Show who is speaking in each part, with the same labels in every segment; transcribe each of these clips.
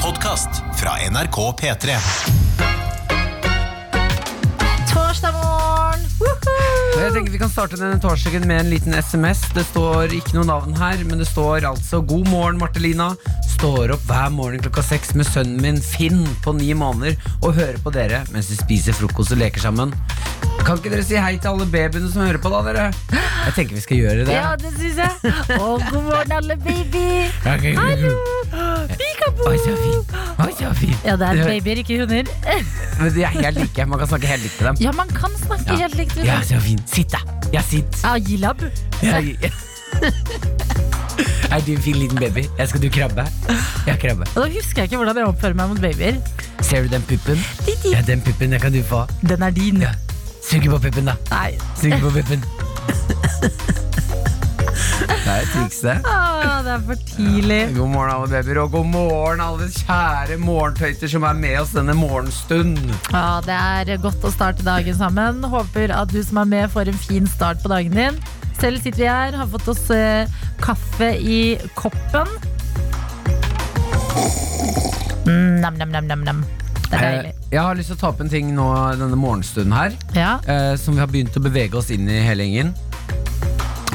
Speaker 1: podkast fra NRK P3.
Speaker 2: Torsdag morgen! Woohoo!
Speaker 3: Jeg tenker Vi kan starte denne torsdagen med en liten SMS. Det står ikke noe navn her, men det står altså 'God morgen, Martelina'. Står opp hver morgen klokka seks med sønnen min Finn på ni måneder og hører på dere mens vi spiser frokost og leker sammen. Kan ikke dere si hei til alle babyene som hører på, da, dere? Jeg tenker vi skal gjøre det.
Speaker 2: Ja, det syns jeg. Og god morgen, alle baby. Hallo! Peekaboo!
Speaker 3: Oi, så fint. Oi, så fint.
Speaker 2: Ja, det er babyer, ikke hunder.
Speaker 3: Men de er helt like. Man kan snakke helt likt til dem.
Speaker 2: Ja, man kan snakke
Speaker 3: Ja.
Speaker 2: helt likt. liksom.
Speaker 3: Ja, så fint. Sitt, da. Ja, sitt.
Speaker 2: Ja, Gilab.
Speaker 3: Jeg Er du en fin liten baby? Jeg skal du krabbe? Ja, krabbe.
Speaker 2: Og da husker jeg ikke hvordan jeg oppfører meg mot babyer.
Speaker 3: Ser du den puppen?
Speaker 2: Titi.
Speaker 3: Ja, den puppen den kan du få.
Speaker 2: Den er din.
Speaker 3: Ja. Suge på puppen, da.
Speaker 2: Nei.
Speaker 3: Suge på puppen. Det er et triks, det.
Speaker 2: Ah, det er for tidlig.
Speaker 3: God morgen, alle babyer, og god morgen, alle kjære morgentøyter som er med oss denne morgenstund.
Speaker 2: Ja, Det er godt å starte dagen sammen. Håper at du som er med, får en fin start på dagen din. Selv sitter vi her, har fått oss eh, kaffe i koppen. Mm, nam, nam, nam, nam, nam. Det er deilig.
Speaker 3: Eh, jeg har lyst til å ta opp en ting nå denne morgenstunden her,
Speaker 2: Ja.
Speaker 3: eh, som vi har begynt å bevege oss inn i hele gjengen.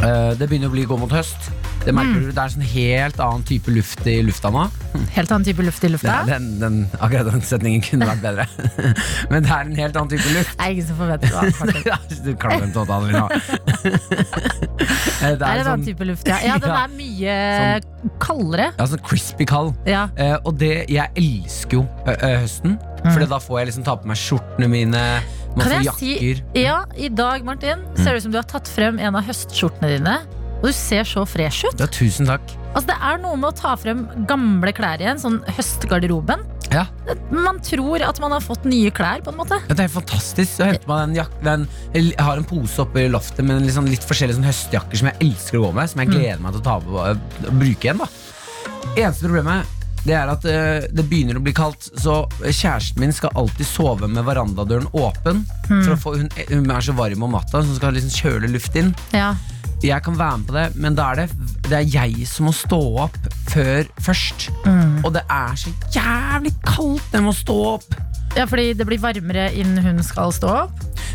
Speaker 3: Eh, det begynner å bli gå mot høst. Det merker
Speaker 2: Mm.
Speaker 3: du, det er sånn helt annen type luft i lufta nå.
Speaker 2: Helt annen type luft i lufta.
Speaker 3: Den,
Speaker 2: Det
Speaker 3: den, den, akkurat den setningen kunne vært bedre. Men det er en helt annen type luft.
Speaker 2: er ingen som forventer noe annet. faktisk.
Speaker 3: du klarer en tåte aldri nå. Eh, Det
Speaker 2: Det er
Speaker 3: er
Speaker 2: en
Speaker 3: sånn,
Speaker 2: annen type luft, ja. ja den
Speaker 3: Ja.
Speaker 2: er mye kaldere.
Speaker 3: ja, sånn crispy kald.
Speaker 2: Ja.
Speaker 3: Eh, og det, jeg elsker jo ø, ø, høsten, for da får jeg liksom ta på meg skjortene mine,
Speaker 2: Mm. Kan
Speaker 3: masse
Speaker 2: jeg
Speaker 3: jakker. Mm.
Speaker 2: si Ja, i dag, Martin, ser det ut som du har tatt frem en av høstskjortene dine. Og du ser så fresh ut.
Speaker 3: Ja, tusen takk.
Speaker 2: Altså Det er noe med å ta frem gamle klær igjen, sånn høstgarderoben.
Speaker 3: Ja,
Speaker 2: Man tror at man har fått nye klær, på en måte.
Speaker 3: det er helt fantastisk. Jeg, henter meg den jak den, jeg har en pose oppe i loftet med liksom litt forskjellige sånn høstjakker som jeg elsker å gå med, som jeg gleder meg til å ta på og bruke igjen. da Eneste problemet det er at eh, det begynner å bli kaldt, så kjæresten min skal alltid sove med verandadøren åpen. For å få, hun, hun er så varm om natta, så hun skal liksom kjøle luft inn.
Speaker 2: Ja,
Speaker 3: Jeg kan være med på det, men da er det, det er jeg som må stå opp før først. Og det er så jævlig kaldt! Jeg må stå opp!
Speaker 2: ja fordi det blir varmere innen hun skal stå opp.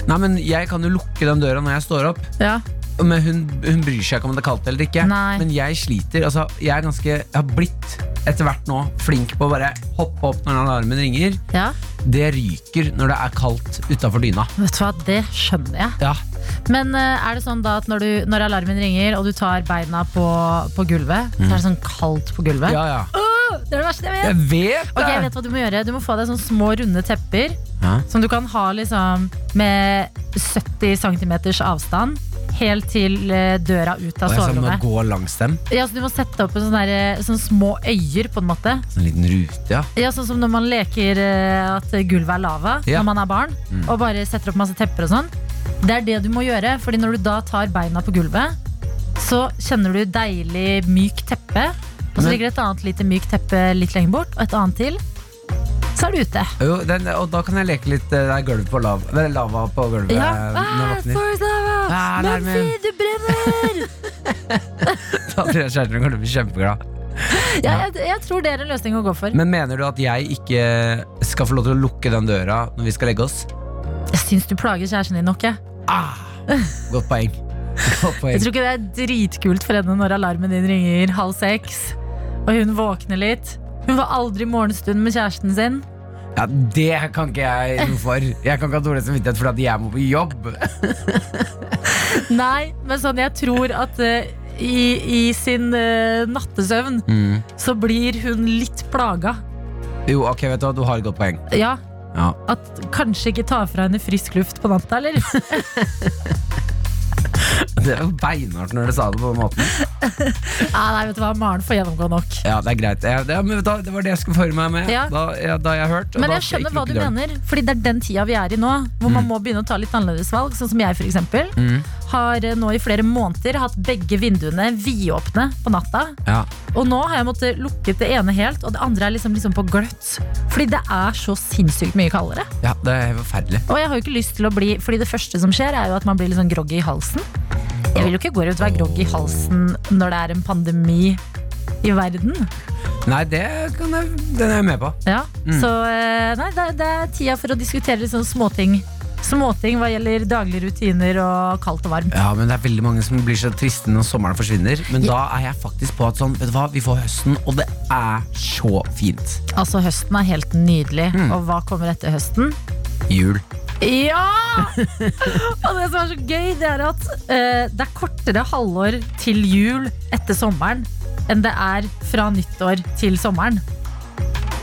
Speaker 3: Nei, men Jeg kan jo lukke den døra når jeg står opp,
Speaker 2: Ja,
Speaker 3: men hun, hun bryr seg ikke om det er kaldt eller ikke.
Speaker 2: Nei.
Speaker 3: Men jeg sliter. Altså, jeg, er ganske, jeg har blitt etter hvert nå flink på å bare hoppe opp når alarmen ringer.
Speaker 2: ja.
Speaker 3: Det ryker når det er kaldt utafor dyna.
Speaker 2: Vet du hva, det skjønner jeg.
Speaker 3: Ja,
Speaker 2: Men eh, er det sånn da at når, du, når alarmen ringer, og du tar beina på, på gulvet, så er det sånn kaldt på gulvet?
Speaker 3: ja, ja.
Speaker 2: Det er det verste jeg vet!
Speaker 3: Jeg vet det!
Speaker 2: Ok, jeg vet hva Du må gjøre Du må få deg sånne små, runde tepper
Speaker 3: Ja.
Speaker 2: som du kan ha liksom med 70 cm avstand. Helt til eh, døra ut
Speaker 3: Og
Speaker 2: av
Speaker 3: jeg skal nå
Speaker 2: soverommet.
Speaker 3: gå langs dem.
Speaker 2: Ja, så du må sette opp en sånn der, sånn små øyer, på en måte.
Speaker 3: En sånn liten rute, ja.
Speaker 2: Ja, Sånn som når man leker eh, at gulvet er lava
Speaker 3: Ja.
Speaker 2: når
Speaker 3: Mm.
Speaker 2: man er barn. Og bare setter opp masse tepper og sånn. Det er det du må gjøre, Fordi når du da tar beina på gulvet, så kjenner du deilig myk teppe. Og så
Speaker 3: Men-
Speaker 2: ligger det et annet lite mykt teppe litt lenger bort, og et annet til. Så er du ute.
Speaker 3: Jo, den, og da kan jeg leke litt eh, det er gulv på lav, eller lava på gulvet.
Speaker 2: Ja.
Speaker 3: eh, Når
Speaker 2: Ah,
Speaker 3: jeg våkner.
Speaker 2: Forrest Lava!
Speaker 3: Ah, alarmen.
Speaker 2: Mumphy, du brenner!
Speaker 3: Da tror jeg kjæresten min kommer til å bli kjempeglad.
Speaker 2: ja, jeg, jeg tror det er en løsning å gå for.
Speaker 3: Men mener du at jeg ikke skal få lov til å lukke den døra når vi skal legge oss?
Speaker 2: Jeg syns du plager kjæresten din nok. Jeg.
Speaker 3: Ah, godt poeng. Godt
Speaker 2: Jeg
Speaker 3: poeng.
Speaker 2: tror ikke det er dritkult for henne når alarmen din ringer halv seks, og hun våkner litt. Hun var aldri i morgenstund med kjæresten sin.
Speaker 3: Ja, det kan ikke jeg noe for. Jeg kan ikke ha dårlig samvittighet for at jeg må på jobb.
Speaker 2: Nei, men sånn jeg tror at eh, i, i sin eh, nattesøvn så blir hun litt plaga.
Speaker 3: Jo, ok, vet du hva, du har et godt poeng.
Speaker 2: Ja,
Speaker 3: Ja.
Speaker 2: at kanskje ikke ta fra henne frisk luft på natta, eller?
Speaker 3: Det var beinhardt når du sa det på den måten.
Speaker 2: Nei, nei, vet du hva, Maren får gjennomgå nok.
Speaker 3: Ja, det er greit. Jeg- det- men vet du, hva, det var det jeg skulle forme meg med.
Speaker 2: Ja.
Speaker 3: Da, ja, da jeg har hørt. og
Speaker 2: Men
Speaker 3: da
Speaker 2: jeg
Speaker 3: skal
Speaker 2: skjønner
Speaker 3: ikke
Speaker 2: hva
Speaker 3: lukke
Speaker 2: du
Speaker 3: døren.
Speaker 2: mener, fordi det er den tida vi er i nå, hvor man må begynne å ta litt annerledes valg. Sånn som jeg, for eksempel. Har eh, nå i flere måneder hatt begge vinduene vidåpne på natta.
Speaker 3: Ja.
Speaker 2: Og nå har jeg måttet lukke det ene helt, og det andre er liksom, liksom på gløtt. Fordi det er så sinnssykt mye kaldere.
Speaker 3: ja, det er forferdelig.
Speaker 2: Og jeg har jo ikke lyst til å bli Fordi det første som skjer, er jo at man blir litt sånn groggy i halsen. Jeg vil jo ikke gå rundt og være groggy i halsen når det er en pandemi i verden.
Speaker 3: Nei, det kan jeg, den er jeg med på.
Speaker 2: Ja,
Speaker 3: Mm.
Speaker 2: så eh, nei, det, det er tida for å diskutere litt sånn småting. Småting hva gjelder daglige rutiner og kaldt og varmt.
Speaker 3: Ja, men det er veldig mange som blir så triste når sommeren forsvinner. Men da er jeg faktisk på at sånn, vet du hva, vi får høsten, og det er så fint.
Speaker 2: Altså, høsten er helt nydelig.
Speaker 3: Mm.
Speaker 2: Og hva kommer etter høsten?
Speaker 3: Jul.
Speaker 2: Ja! og det som er så gøy, det er at eh, det er kortere halvår til jul etter sommeren enn det er fra nyttår til sommeren.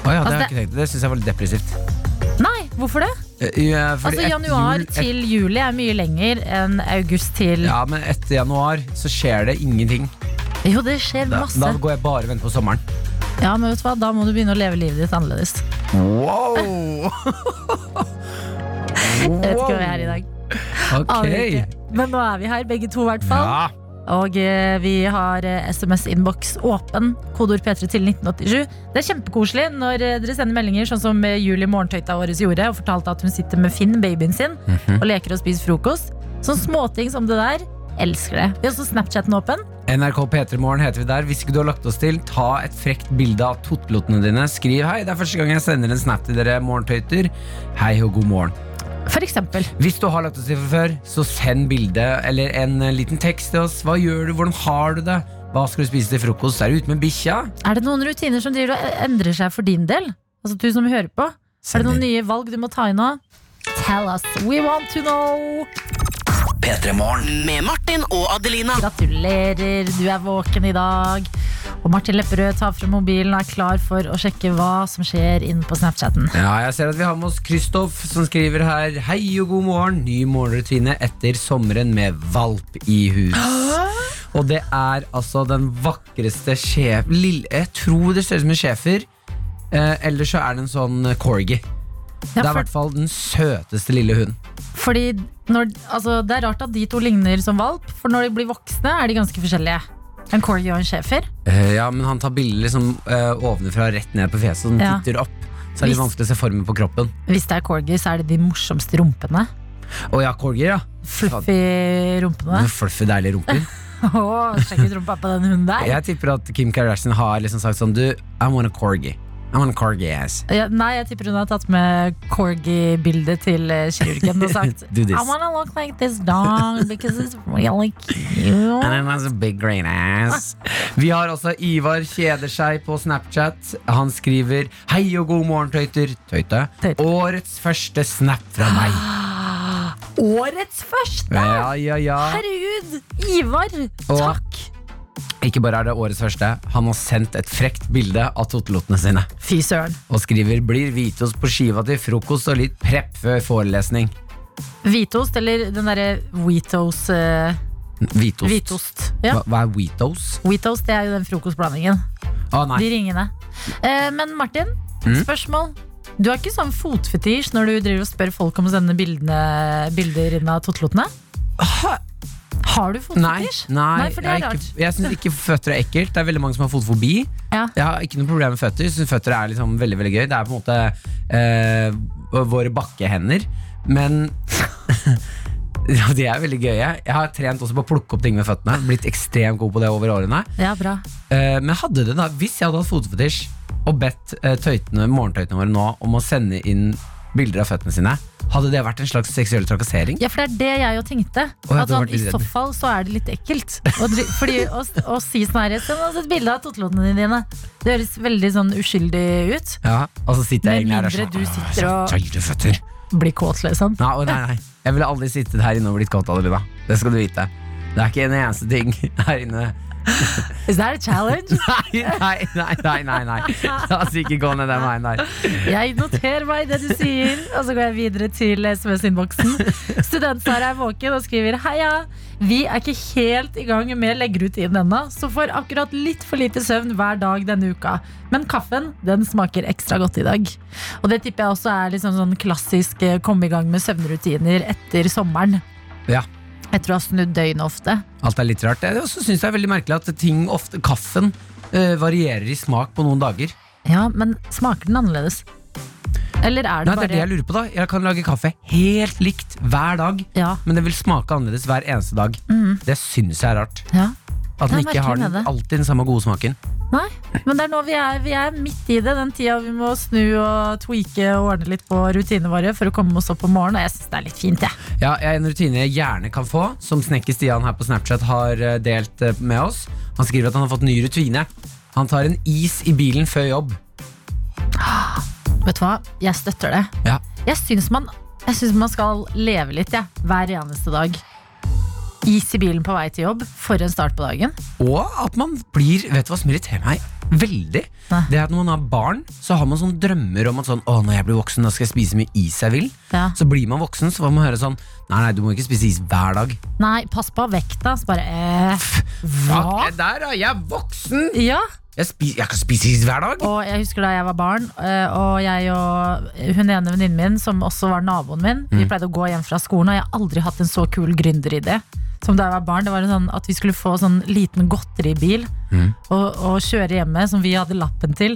Speaker 3: Å ja, det
Speaker 2: Altså,
Speaker 3: har jeg ikke tenkt. Det syns jeg var litt depressivt.
Speaker 2: Nei, hvorfor det?
Speaker 3: Eh, ja, fordi
Speaker 2: Altså
Speaker 3: et
Speaker 2: Januar
Speaker 3: jul- et-
Speaker 2: til juli er mye lenger enn august til
Speaker 3: Ja, men etter januar så skjer det ingenting.
Speaker 2: Jo, det skjer
Speaker 3: Da,
Speaker 2: masse.
Speaker 3: da går jeg bare og venter på sommeren.
Speaker 2: Ja, men vet du hva? Da må du begynne å leve livet ditt annerledes.
Speaker 3: Wow!
Speaker 2: Jeg vet ikke hva jeg er i dag. Aner
Speaker 3: Ok.
Speaker 2: ikke. Men nå er vi her, begge to i hvert fall.
Speaker 3: Ja.
Speaker 2: Og eh, vi har eh, SMS-innboks åpen. Kodeord P3 til 1987. Det er kjempekoselig når eh, dere sender meldinger, sånn som eh, Julie Morgentøyta vår gjorde, og fortalte at hun sitter med Finn, babyen sin,
Speaker 3: Mhm.
Speaker 2: og leker og spiser frokost. Sånn småting som det der. Elsker det. Vi har også Snapchaten åpen.
Speaker 3: NRK P3 Morgen heter vi der. Hvis ikke du har lagt oss til, ta et frekt bilde av tottelotene dine. Skriv hei. Det er første gang jeg sender en snap til dere morgentøyter. Hei og god morgen.
Speaker 2: For eksempel.
Speaker 3: Hvis du har lagt oss til fra før, så send bilde eller en eh, liten tekst til oss. Hva gjør du? Hvordan har du det? Hva skal du spise til frokost? Er du ute med bikkja?
Speaker 2: Er det noen rutiner som driver og e- endrer seg for din del? Altså du som hører på. Er det noen nye valg du må ta inn nå? Tell us. We want to know.
Speaker 4: Med Martin og Adelina.
Speaker 2: Gratulerer, du er våken i dag. Og Martin Lepperød tar frem mobilen og er klar for å sjekke hva som skjer inn på Snapchatten.
Speaker 3: Ja, jeg ser at vi har med oss Kristoff som skriver her Hei og god morgen, ny morgenrutine etter sommeren med valp i hus Og det er altså den vakreste sjef lille, Jeg tror det ser ut som en sjefer eh, Eller så er det en sånn corgi Det
Speaker 2: Ja,
Speaker 3: er i
Speaker 2: for,
Speaker 3: hvert fall den søteste lille hunden
Speaker 2: fordi når, altså, det er rart at de to ligner som valp, for når de blir voksne, er de ganske forskjellige. En corgi og en schæfer.
Speaker 3: Eh, Ja, men han tar bilder liksom eh, ovenfra rett ned på fjeset Så den
Speaker 2: Ja.
Speaker 3: titter opp Så det er litt
Speaker 2: Hvis-
Speaker 3: vanskelig å se formen på kroppen
Speaker 2: Hvis det er corgi, så er det de morsomste rumpene.
Speaker 3: Å ja, corgi ja
Speaker 2: Fluffy rumpene.
Speaker 3: Noen Fluffy deilige rumper
Speaker 2: Åh, sjekk ut rumpa på den hunden der.
Speaker 3: Jeg tipper at Kim Kardashian har liksom sagt sånn Du, I want a corgi I want a corgi ass
Speaker 2: Ja, nei, jeg tipper hun har tatt med corgi-bildet til eh, kirurgen og sagt
Speaker 3: Do this.
Speaker 2: I wanna look like this dog because it's really cute.
Speaker 3: And it has a big green ass Vi har også Ivar kjeder seg på Snapchat Han skriver Hei og god morgen tøyter Tøyte
Speaker 2: Tøyte.
Speaker 3: Årets første snap fra meg
Speaker 2: Årets første!
Speaker 3: Ja, ja, ja
Speaker 2: Herregud! Ivar,
Speaker 3: Og-
Speaker 2: takk!
Speaker 3: Ikke bare er det årets første Han har sendt et frekt bilde av totelotene sine
Speaker 2: Fy søren.
Speaker 3: Og skriver Blir hvitost på skiva til frokost og litt prepp før forelesning
Speaker 2: Hvitost, eller den derre Wheatos eh,
Speaker 3: Hvitost
Speaker 2: Hvitost. Ja.
Speaker 3: Hva, hva er hvitost?
Speaker 2: Wheatos, det er jo den frokostblandingen.
Speaker 3: Å nei Mm.
Speaker 2: De ringene. Eh, men Martin, spørsmål. Du har ikke sånn fotfetisj når du driver og spør folk om å sende bildene, bilder inn av totelotene? Har du
Speaker 3: Nei,
Speaker 2: fotfetisj?
Speaker 3: nei,
Speaker 2: for det
Speaker 3: jeg,
Speaker 2: er
Speaker 3: er
Speaker 2: rart.
Speaker 3: ikke, jeg syns ikke føtter er ekkelt. Det er veldig mange som har fotfobi.
Speaker 2: Ja.
Speaker 3: Jeg har ikke noe problem med føtter. Jeg synes føtter er liksom veldig veldig gøy. Det er på en måte eh, våre bakkehender. Men Ja, de er veldig gøye. Jeg har trent også på å plukke opp ting med føttene. Blitt ekstremt god på det over årene.
Speaker 2: Ja, bra.
Speaker 3: Eh, men hadde det da, hvis jeg hadde hatt fotfetisj og bedt eh, tøytene, morgentøytene våre nå om å sende inn bilder av føttene sine, hadde det vært en slags seksuell trakassering?
Speaker 2: Ja, for det er det jeg jo tenkte. at
Speaker 3: Å, ja, du har
Speaker 2: sånn,
Speaker 3: vært
Speaker 2: I
Speaker 3: litt
Speaker 2: så
Speaker 3: redd.
Speaker 2: fall så er det litt ekkelt. Å dri- fordi å, å si sånn her Send oss et bilde av totelotene dine. Det høres veldig sånn uskyldig ut.
Speaker 3: Ja, og så sitter jeg
Speaker 2: Med
Speaker 3: egentlig her og
Speaker 2: mindre
Speaker 3: sånn,
Speaker 2: du
Speaker 3: «Åh,
Speaker 2: sitter
Speaker 3: så
Speaker 2: og-
Speaker 3: tøyre føtter.
Speaker 2: Bli kåt, liksom.
Speaker 3: Nei, å, nei, nei. Jeg ville aldri sittet her inne og blitt kåt, Adelina. Det skal du vite. Det er ikke en eneste ting her inne.
Speaker 2: Is that a challenge?
Speaker 3: Nei, nei, nei, nei. nei, nei. La oss ikke gå ned den veien der.
Speaker 2: Jeg noterer meg det du sier, og så går jeg videre til SMS-innboksen. Student-Sara er våken og skriver Heia, vi er ikke helt i gang med leggerutinen ennå, så får akkurat litt for lite søvn hver dag denne uka. Men kaffen, den smaker ekstra godt i dag. Og det tipper jeg også er liksom sånn klassisk eh, komme i gang med søvnrutiner etter sommeren.
Speaker 3: Ja,
Speaker 2: Etter å ha snudd døgnet ofte.
Speaker 3: alt er litt rart. Jeg også synes det er veldig merkelig at ting ofte, kaffen eh, varierer i smak på noen dager.
Speaker 2: Ja, men smaker den annerledes? Eller er det
Speaker 3: Nei, det er det
Speaker 2: bare
Speaker 3: jeg lurer på da. Jeg kan lage kaffe helt likt hver dag,
Speaker 2: Ja, Mhm.
Speaker 3: men det vil smake annerledes hver eneste dag. Det synes jeg er rart.
Speaker 2: ja.
Speaker 3: At den
Speaker 2: Det er
Speaker 3: ikke har
Speaker 2: merkelig
Speaker 3: den,
Speaker 2: med det.
Speaker 3: alltid den samme gode smaken.
Speaker 2: Nei, men det er nå vi er, vi er midt i det, den tida vi må snu og tweake og ordne litt på rutinene våre for å komme oss opp om morgenen, og jeg syns det er litt fint, jeg.
Speaker 3: Ja, jeg- En rutine jeg gjerne kan få, som snekker Stian her på Snapchat har eh, delt eh, med oss. Han skriver at han har fått ny rutine. Han tar en is i bilen før jobb.
Speaker 2: Vet du hva, jeg støtter det.
Speaker 3: Ja.
Speaker 2: Jeg syns man, jeg synes man skal leve litt, jeg. Hver eneste dag. Is i bilen på vei til jobb. For en start på dagen.
Speaker 3: Og at man blir Vet du hva som irriterer meg veldig?
Speaker 2: Nei.
Speaker 3: Det er at Når man har barn, så har man sånn drømmer om at sånn, å, når jeg blir voksen, da skal jeg spise så mye is jeg vil.
Speaker 2: Ja.
Speaker 3: Så blir man voksen, så får man høre sånn Nei, nei, du må ikke spise is hver dag.
Speaker 2: Nei, pass på vekta. Så bare eh, Hva?
Speaker 3: Fuck det der, da! Jeg er voksen!
Speaker 2: Ja.
Speaker 3: Jeg, spi- jeg kan spise is hver dag.
Speaker 2: Og jeg husker da jeg var barn, eh, og jeg og hun ene venninnen min, som også var naboen min, vi pleide å gå hjem fra skolen, og jeg har aldri hatt en så kul gründeridé. Som da jeg var barn, det var en sånn at vi skulle få sånn liten godteribil og, og kjøre hjemme, som vi hadde lappen til.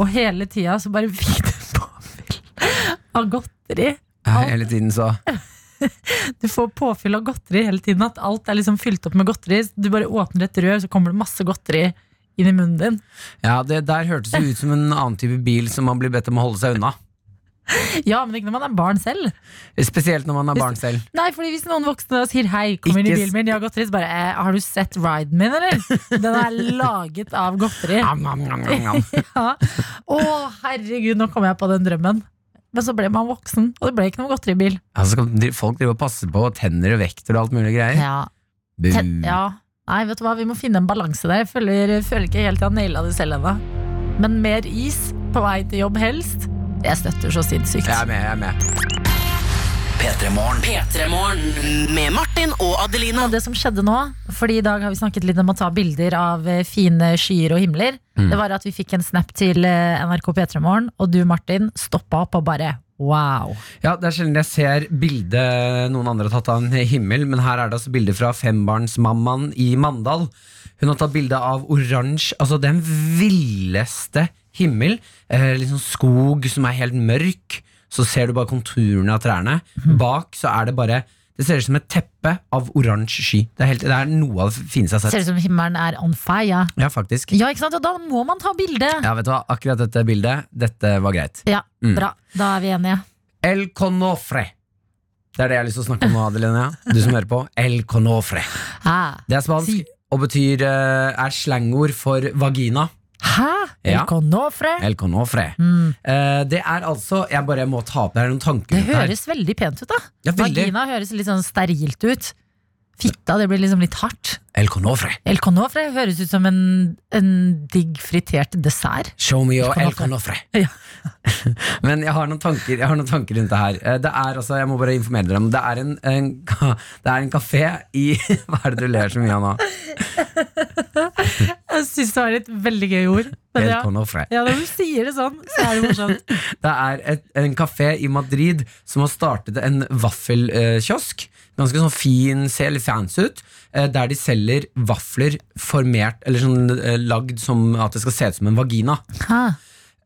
Speaker 2: Og hele tida så bare fikk den påfyll av godteri.
Speaker 3: Ja, hele tiden så
Speaker 2: Du får påfyll av godteri hele tiden. At alt er liksom fylt opp med godteri. Du bare åpner et rør, så kommer det masse godteri inn i munnen din.
Speaker 3: Ja, det der hørtes jo ut som en annen type bil som man blir bedt om å holde seg unna.
Speaker 2: Ja, men ikke når man er barn selv.
Speaker 3: Spesielt når man er barn selv.
Speaker 2: Nei, fordi hvis noen voksne da sier hei, kom inn i
Speaker 3: Ikke s-
Speaker 2: bilen min, jeg har godteri, så bare eh, har du sett riden min, eller? Den er laget av godteri.
Speaker 3: Am, am, am, am, am.
Speaker 2: Ja. Å, herregud, nå kom jeg på den drømmen. Men så ble man voksen, og det ble ikke noen godteribil.
Speaker 3: Ja, så Altså, skal de- folk driver og passer på tenner og vekter og alt mulig greier.
Speaker 2: Ja.
Speaker 3: Bu.
Speaker 2: Te ja. Nei, vet du hva, vi må finne en balanse der. Jeg føler, føler ikke helt jeg har naila det selv ennå. Men mer is på vei til jobb helst. Jeg støtter så sinnssykt.
Speaker 3: Jeg er med, jeg er med.
Speaker 4: P3morgen. P3morgen. Med Martin og Adelina.
Speaker 2: av det som skjedde nå, fordi i dag har vi snakket litt om å ta bilder av eh, fine skyer og himler,
Speaker 3: Mm.
Speaker 2: det var at vi fikk en snap til eh, NRK P3 Morgen, og du, Martin, stoppa opp og bare wow.
Speaker 3: Ja, Det er sjelden jeg ser bilde noen andre har tatt av en himmel, men her er det altså bilde fra fembarnsmammaen i Mandal. Hun har tatt bilde av oransje, altså den villeste himmel. Eh, liksom skog som er helt mørk, så ser du bare konturene av trærne. Bak så er det bare Det ser ut som et teppe av oransje sky. Det er, helt, det er noe av det fineste jeg har
Speaker 2: Ser
Speaker 3: sett.
Speaker 2: ut som himmelen er on fire.
Speaker 3: Ja, faktisk.
Speaker 2: Ja, ikke sant? Og da må man ta bilde. Ja,
Speaker 3: Ja, Mm. vet du hva, akkurat dette bildet, dette var greit.
Speaker 2: bra. Da er vi enige.
Speaker 3: El Conofre. Det er det jeg har lyst til å snakke om nå, Adelina. Du som hører på. El Conofre.
Speaker 2: Hæ?
Speaker 3: Det er
Speaker 2: Si.
Speaker 3: spansk og betyr, eh, er slangord for vagina.
Speaker 2: Hæ?
Speaker 3: Ja.
Speaker 2: El Conofre?
Speaker 3: El conofre.
Speaker 2: Mm.
Speaker 3: Eh, det er altså Jeg bare må ta opp det her noen tanker
Speaker 2: Det
Speaker 3: rundt her.
Speaker 2: høres veldig pent ut, da.
Speaker 3: Ja, veldig.
Speaker 2: Vagina høres litt sånn sterilt ut. Fitta, det blir liksom litt hardt.
Speaker 3: El conofre.
Speaker 2: El Conofre høres ut som en, en digg fritert dessert.
Speaker 3: Show me your
Speaker 2: El
Speaker 3: el conofre.
Speaker 2: Ja.
Speaker 3: Men jeg har noen tanker, jeg har noen tanker rundt det her. Eh, Det er altså, Jeg må bare informere dere om det er en, en, ka- det er en kafé i Hva er det du ler så mye av nå?
Speaker 2: Jeg syns det var et veldig gøy ord. Men
Speaker 3: El
Speaker 2: ja.
Speaker 3: conofre.
Speaker 2: ja, når du sier det sånn, så er det morsomt.
Speaker 3: Det er et, en kafé i Madrid som har startet en vaffelkiosk. Ganske sånn fin, ser litt fancy ut. eh, Der de selger vafler formert, eller sånn eh, lagd som at det skal se ut som en vagina.
Speaker 2: Hæ?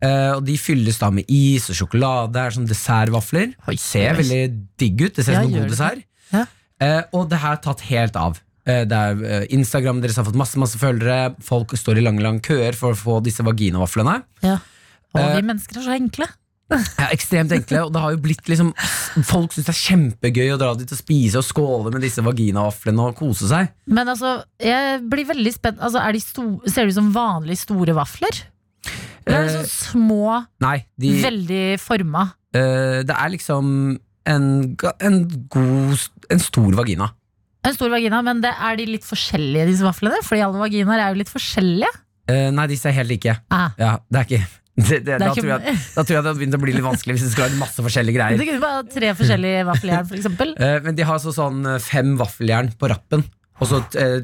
Speaker 3: Eh, Og de fylles da med is og sjokolade, er sånn dessertvafler.
Speaker 2: Oi,
Speaker 3: ser
Speaker 2: oi.
Speaker 3: veldig digg ut. Det ser ut
Speaker 2: Ja,
Speaker 3: som en
Speaker 2: gjør
Speaker 3: god
Speaker 2: det.
Speaker 3: dessert.
Speaker 2: Ja.
Speaker 3: Eh, Og det her er tatt helt av. Eh, Det er eh, Instagram deres har fått masse masse følgere. Folk står i lange lange køer for å få disse vaginavaflene.
Speaker 2: Ja. Og
Speaker 3: Eh.
Speaker 2: vi mennesker er så enkle.
Speaker 3: Ja, ekstremt enkle, og det har jo blitt liksom Folk syns det er kjempegøy å dra dit og spise og skåle med disse vaginavaflene og kose seg.
Speaker 2: Men altså, jeg blir veldig spent. Altså, er de sto ser de ut som vanlig store vafler? Eller er de
Speaker 3: Eh.
Speaker 2: sånn små,
Speaker 3: Nei, de,
Speaker 2: veldig forma?
Speaker 3: eh, det er liksom en, ga- en god En stor vagina.
Speaker 2: En stor vagina, men det, er de litt forskjellige, disse vaflene? Fordi alle vaginaer er jo litt forskjellige.
Speaker 3: Eh, nei, disse er helt like.
Speaker 2: Ah,
Speaker 3: Ja, det er ikke det, det,
Speaker 2: det,
Speaker 3: da,
Speaker 2: er
Speaker 3: Tror jeg,
Speaker 2: ikke,
Speaker 3: at- da tror jeg det hadde begynt å bli litt vanskelig hvis det skulle være masse forskjellige greier.
Speaker 2: det kunne bare ha tre forskjellige vaffeljern, for eksempel.
Speaker 3: Eh, men de har så sånn eh, fem vaffeljern på rappen, og så uh,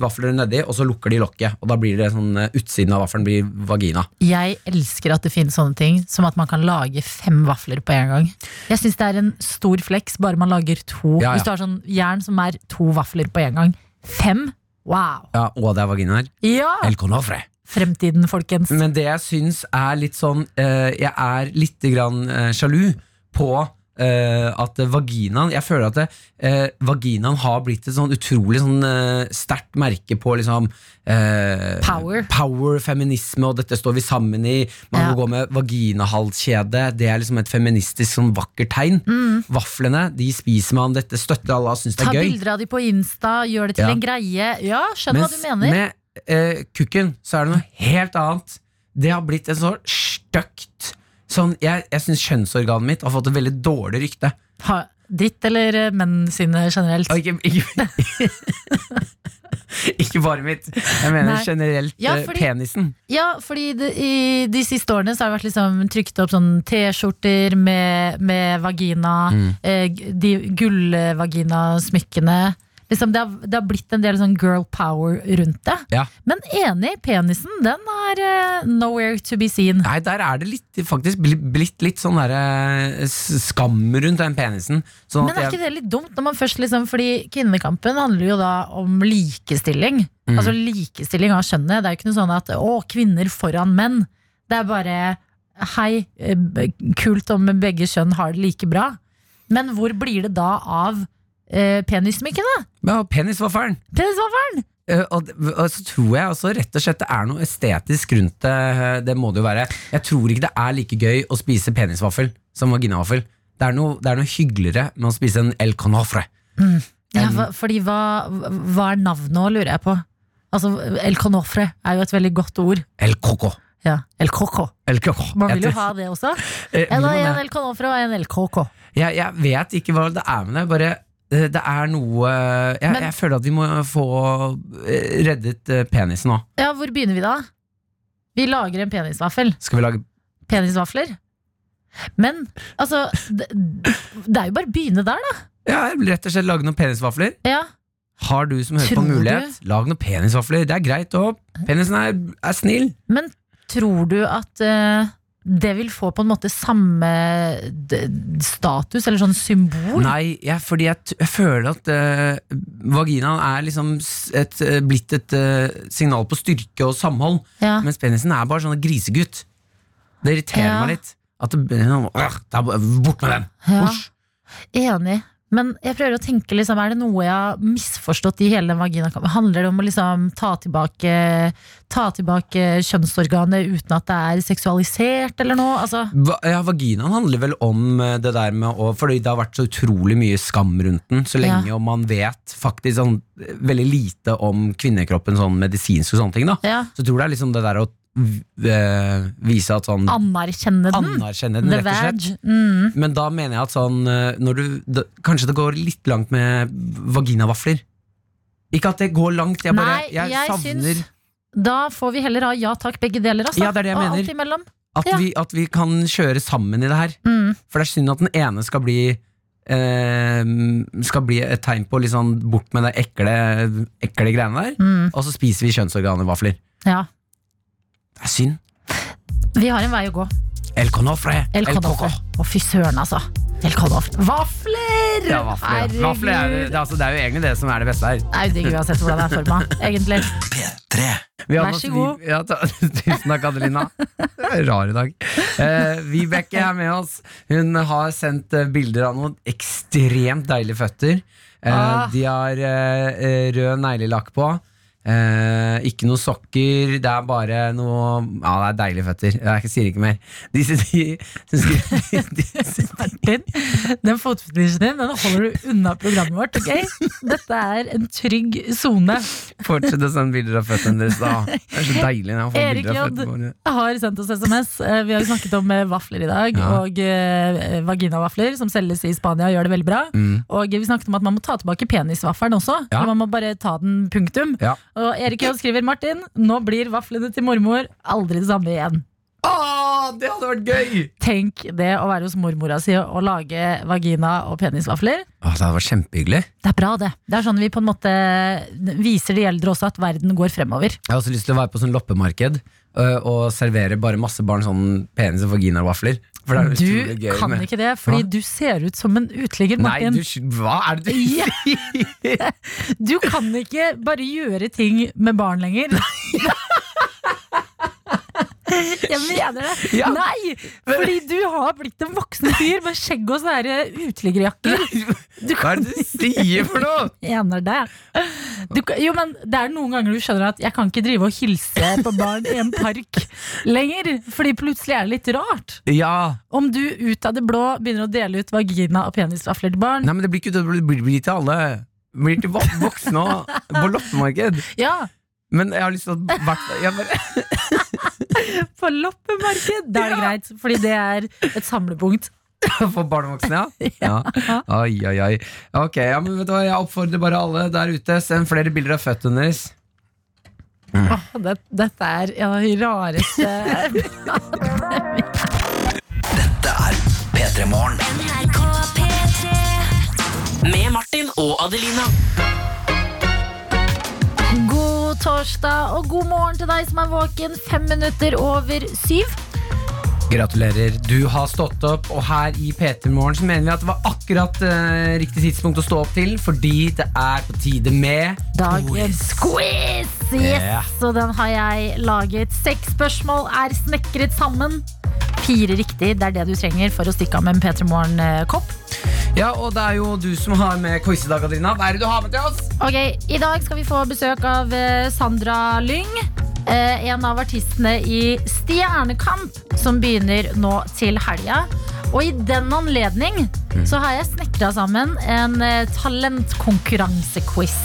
Speaker 3: vafler nedi, og så lukker de lokket. Og da blir det sånn eh, utsiden av vaffelen blir vagina.
Speaker 2: Jeg elsker at det finnes sånne ting som at man kan lage fem vafler på en gang. Jeg syns det er en stor flex, bare man lager to.
Speaker 3: Ja, ja.
Speaker 2: Hvis du har sånn jern som er to vafler på en gang. Fem? Wow!
Speaker 3: Ja, og det er vaginaer.
Speaker 2: Ja!
Speaker 3: El conofre.
Speaker 2: Fremtiden, folkens.
Speaker 3: Men det jeg syns er litt sånn eh, Jeg er litt grann, eh, sjalu på eh, eh, at vaginaen Jeg føler at det, eh, vaginaen har blitt et sånn utrolig sånn, eh, sterkt merke på liksom eh,
Speaker 2: Power.
Speaker 3: feminisme, og dette står vi sammen i. Man
Speaker 2: Ja.
Speaker 3: må gå med vaginahalskjede. Det er liksom et feministisk sånn vakkert tegn. Vaflene de spiser man, dette støtter alle og syns det
Speaker 2: Mm. Ta
Speaker 3: er gøy.
Speaker 2: bilder av de på Insta, gjør det til
Speaker 3: Ja.
Speaker 2: en greie. Ja, skjønner
Speaker 3: Mens
Speaker 2: hva du mener.
Speaker 3: med eh, kukken så er det noe helt annet. Det har blitt en sånn støkt sånn, Jeg, jeg syns kjønnsorganet mitt har fått et veldig dårlig rykte.
Speaker 2: Ha, ditt eller eh, menn sine generelt.
Speaker 3: Og ikke, ikke, ikke bare mitt. Jeg mener
Speaker 2: Nei.
Speaker 3: generelt
Speaker 2: Ja,
Speaker 3: eh,
Speaker 2: fordi-
Speaker 3: penisen.
Speaker 2: Ja, fordi det, i de siste årene så har det vært liksom trykt opp sånn T-skjorter med, med vagina, eh, g- de gullvaginasmykkene. Liksom det, har, det har blitt en del sånn girl power rundt det.
Speaker 3: Ja.
Speaker 2: Men enig, penisen den er eh, nowhere to be seen.
Speaker 3: Nei, der er det litt, faktisk bli- blitt litt sånn der, eh, s- skam rundt den penisen. Sånn
Speaker 2: Men er
Speaker 3: at
Speaker 2: ikke
Speaker 3: jeg,
Speaker 2: det litt dumt? Når man først liksom, fordi Kvinnekampen handler jo da om likestilling.
Speaker 3: Mm.
Speaker 2: Altså likestilling av kjønnet. Det er jo ikke noe sånn at å, kvinner foran menn. Det er bare hei, eh, b- kult om begge kjønn har det like bra. Men hvor blir det da av eh, penissmykken, da?
Speaker 3: ja, penis var fæl.
Speaker 2: Penisvaffelen!
Speaker 3: Eh, og, det- og så tror jeg også rett og slett det er noe estetisk rundt det. Det må det jo være. Jeg tror ikke det er like gøy å spise penisvaffel som vaginavaffel. Det er, noe, det er noe hyggeligere med å spise en el canofre.
Speaker 2: Ja,
Speaker 3: Mm.
Speaker 2: hva- fordi hva, hva er navnet nå, lurer jeg på. Altså, El Conofre er jo et veldig godt ord.
Speaker 3: El coco.
Speaker 2: Ja, El Coco.
Speaker 3: El coco.
Speaker 2: Man
Speaker 3: Jeg
Speaker 2: vil jo
Speaker 3: tror-
Speaker 2: ha det også.
Speaker 3: Eh, vil
Speaker 2: Eller
Speaker 3: man
Speaker 2: en
Speaker 3: det?
Speaker 2: El Conofre og en El Coco.
Speaker 3: jeg, jeg vet ikke hva det er med det. Bare eh, det er noe eh, Jeg,
Speaker 2: Men-
Speaker 3: jeg føler at vi må få eh, reddet eh, penisen nå.
Speaker 2: Ja, hvor begynner vi da? Vi lager en penisvaffel.
Speaker 3: Skal vi lage
Speaker 2: Penisvafler. Men altså det, det er jo bare å begynne der, da.
Speaker 3: Ja, rett og slett lage noen penisvafler?
Speaker 2: Ja.
Speaker 3: Har du som hører på
Speaker 2: Tror du?
Speaker 3: mulighet, lag noen penisvafler. Det er greit òg. Penisen er, er snill.
Speaker 2: Men tror du at eh, det vil få på en måte samme d- status, eller sånn symbol?
Speaker 3: Nei, jeg, fordi jeg, t jeg føler at eh, vaginaen er liksom s- et, eh, blitt et eh, signal på styrke og samhold,
Speaker 2: Ja.
Speaker 3: mens penisen er bare sånn en grisegutt. Det irriterer
Speaker 2: Ja.
Speaker 3: meg litt. At det, øh, det er bare- bort med den!
Speaker 2: Ja.
Speaker 3: Husj.
Speaker 2: Enig. Men jeg prøver å tenke, liksom, er det noe jeg har misforstått i hele den vaginakampen? Handler det om å liksom, ta, tilbake, ta tilbake kjønnsorganet uten at det er seksualisert, eller noe? Altså,
Speaker 3: Va ja, vaginaen handler vel om eh, det der med å Fordi det har vært så utrolig mye skam rundt den, så lenge
Speaker 2: Ja.
Speaker 3: og man vet faktisk sånn, eh, veldig lite om kvinnekroppen sånn medisinsk og sånne ting, da.
Speaker 2: ja.
Speaker 3: Så tror jeg det er liksom det der å eh, vise at sånn
Speaker 2: Anerkjenne den.
Speaker 3: Anerkjenne den,
Speaker 2: The
Speaker 3: rett og slett.
Speaker 2: vag. Mm.
Speaker 3: Men da mener jeg at sånn eh, når du, da, Kanskje det går litt langt med vaginavafler. Ikke at det går langt, jeg bare
Speaker 2: Nei,
Speaker 3: jeg
Speaker 2: jeg
Speaker 3: savner
Speaker 2: syns- Da får vi heller ha ja takk, begge deler. Altså.
Speaker 3: Ja, det er det jeg
Speaker 2: og
Speaker 3: mener.
Speaker 2: alt imellom.
Speaker 3: at,
Speaker 2: ja.
Speaker 3: vi, at vi kan kjøre sammen i det her.
Speaker 2: Mm.
Speaker 3: For det er synd at den ene skal bli eh, Skal bli et tegn på litt sånn bort med det ekle, ekle greiene der.
Speaker 2: Mm.
Speaker 3: Og så spiser vi kjønnsorganevafler.
Speaker 2: Ja.
Speaker 3: Det er synd.
Speaker 2: Vi har en vei å gå.
Speaker 3: El conofre.
Speaker 2: El
Speaker 3: coco.
Speaker 2: Conofre. Å, fy søren, altså. El Conofre. Vafler!
Speaker 3: Ja, vafler. ja. vafler er, det,
Speaker 2: Herregud.
Speaker 3: det, er altså, det er jo egentlig det som er det beste her.
Speaker 2: Det er jo digg uansett hvordan det er forma, egentlig.
Speaker 1: P3.
Speaker 3: Vi
Speaker 2: Vær
Speaker 3: har
Speaker 2: så
Speaker 3: med oss
Speaker 2: god.
Speaker 3: Vib- Ja, ta, tusen takk, Adelina. Du er rar i dag. Eh, Vibeke er med oss. Hun har sendt eh, bilder av noen ekstremt deilige føtter. Eh,
Speaker 2: Ah.
Speaker 3: De har eh, eh, rød neglelakk på. Eh, ikke noe sokker, det er bare noe Ja, det er deilige føtter. Jeg sier ikke mer. De, de, de, de, de, de,
Speaker 2: Martin, den fotfetisjen din den holder du unna programmet vårt. ok? Dette er en trygg sone.
Speaker 3: Fortsett å sende bilder av føttene deres, da. Det er så deilig når jeg får
Speaker 2: Erik
Speaker 3: bilder av
Speaker 2: J.
Speaker 3: føttene våre.
Speaker 2: har sendt oss SMS. Eh, Vi har jo snakket om eh, vafler i dag,
Speaker 3: Ja.
Speaker 2: og eh, vaginavafler som selges i Spania og gjør det veldig bra.
Speaker 3: Mm.
Speaker 2: Og vi snakket om at man må ta tilbake penisvaffelen også.
Speaker 3: Ja.
Speaker 2: Så Man må bare ta den punktum.
Speaker 3: Ja.
Speaker 2: Og Erik J skriver Martin, nå blir vaflene til mormor aldri det samme igjen.
Speaker 3: Åh, det hadde vært gøy!
Speaker 2: Tenk det å være hos mormora si og lage vagina- og penisvafler.
Speaker 3: Åh, det hadde vært kjempehyggelig.
Speaker 2: Det er bra, det. Det er sånn vi på en måte viser de eldre også at verden går fremover.
Speaker 3: Jeg har også lyst til å være på sånn loppemarked øh, og servere bare masse barn sånn penis og vaginavafler. For det er jo
Speaker 2: Du
Speaker 3: utrolig gøy
Speaker 2: kan
Speaker 3: med-
Speaker 2: ikke det, fordi
Speaker 3: Hva?
Speaker 2: du ser ut som en uteligger,
Speaker 3: Nei,
Speaker 2: Martin.
Speaker 3: du, sk- hva er det du
Speaker 2: Ja. Du kan ikke bare gjøre ting med barn lenger. Jeg mener det.
Speaker 3: Ja.
Speaker 2: Nei! Fordi du har blitt en voksen fyr med skjegg og sånne her uteliggerjakker. Du
Speaker 3: Hva er
Speaker 2: kan
Speaker 3: det du sier for noe?!
Speaker 2: Ener det. Du, kan- jo, men det er noen ganger du skjønner at jeg kan ikke drive og hilse på barn i en park lenger. Fordi plutselig er det litt rart.
Speaker 3: Ja,
Speaker 2: Om du ut av det blå begynner å dele ut vagina og penisvafler til barn.
Speaker 3: Nei, men det blir ikke det blir, det blir til alle. Det blir til vok- voksne og på loppemarked.
Speaker 2: Ja,
Speaker 3: Men jeg har lyst til at hvert jeg bare,
Speaker 2: på loppemarked! Da er det greit, fordi det er et samlepunkt.
Speaker 3: For barn og voksne, ja? ja. Oi, oi, oi. Ok, ja, men vet du hva, jeg oppfordrer bare alle der ute, send flere bilder av føttene deres.
Speaker 2: Åh, det, dette er en av de rareste
Speaker 4: Det er P3 Morgen. Med Martin og Adelina.
Speaker 2: God torsdag og god morgen til deg som er våken fem minutter over syv.
Speaker 3: Gratulerer. Du har stått opp, og her i P3 Morgen så mener vi at det var akkurat eh, riktig tidspunkt å stå opp til, fordi det er på tide med
Speaker 2: Dagens quiz! Yes!
Speaker 1: Ja.
Speaker 2: Og den har jeg laget. Seks spørsmål er snekret sammen. Fire riktig, det er det du trenger for å stikke av med en P3 eh, Morgen-kopp.
Speaker 3: Ja, og det er jo du som har med quiz i dag, Adelina. Hva er det du har med til oss?
Speaker 2: Ok, I dag skal vi få besøk av eh, Sandra Lyng. eh, En av artistene i Stjernekamp, som begynner nå til helga. Og i den anledning så har jeg snekra sammen en eh, talentkonkurransequiz.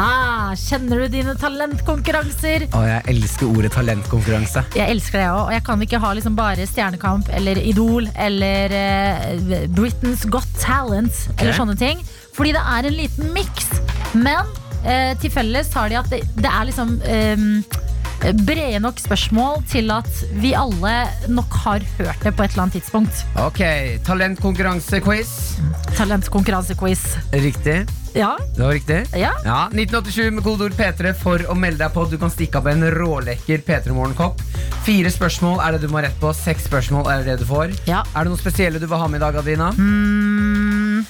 Speaker 2: Ah, kjenner du dine talentkonkurranser?
Speaker 3: Å, jeg elsker ordet talentkonkurranse.
Speaker 2: Jeg elsker det òg, og jeg kan ikke ha liksom bare Stjernekamp eller Idol eller eh, Britain's Got Talent eller sånne ting. Fordi det er en liten miks. Men eh, til felles har de at det, det er liksom eh, brede nok spørsmål til at vi alle nok har hørt det på et eller annet tidspunkt.
Speaker 3: Ok, talentkonkurranse-quiz.
Speaker 2: Talentkonkurransequiz.
Speaker 3: Riktig.
Speaker 2: Ja,
Speaker 3: Det var riktig.
Speaker 2: ja.
Speaker 3: Ja, 1987 med kodeord P3 E for å melde deg på. Du kan stikke av en rålekker P3-morgenkopp. E Fire spørsmål er det du må ha rett på. Seks spørsmål er det du får.
Speaker 2: Ja.
Speaker 3: Er det noen spesielle du vil ha med i dag, Adina?
Speaker 2: Mm.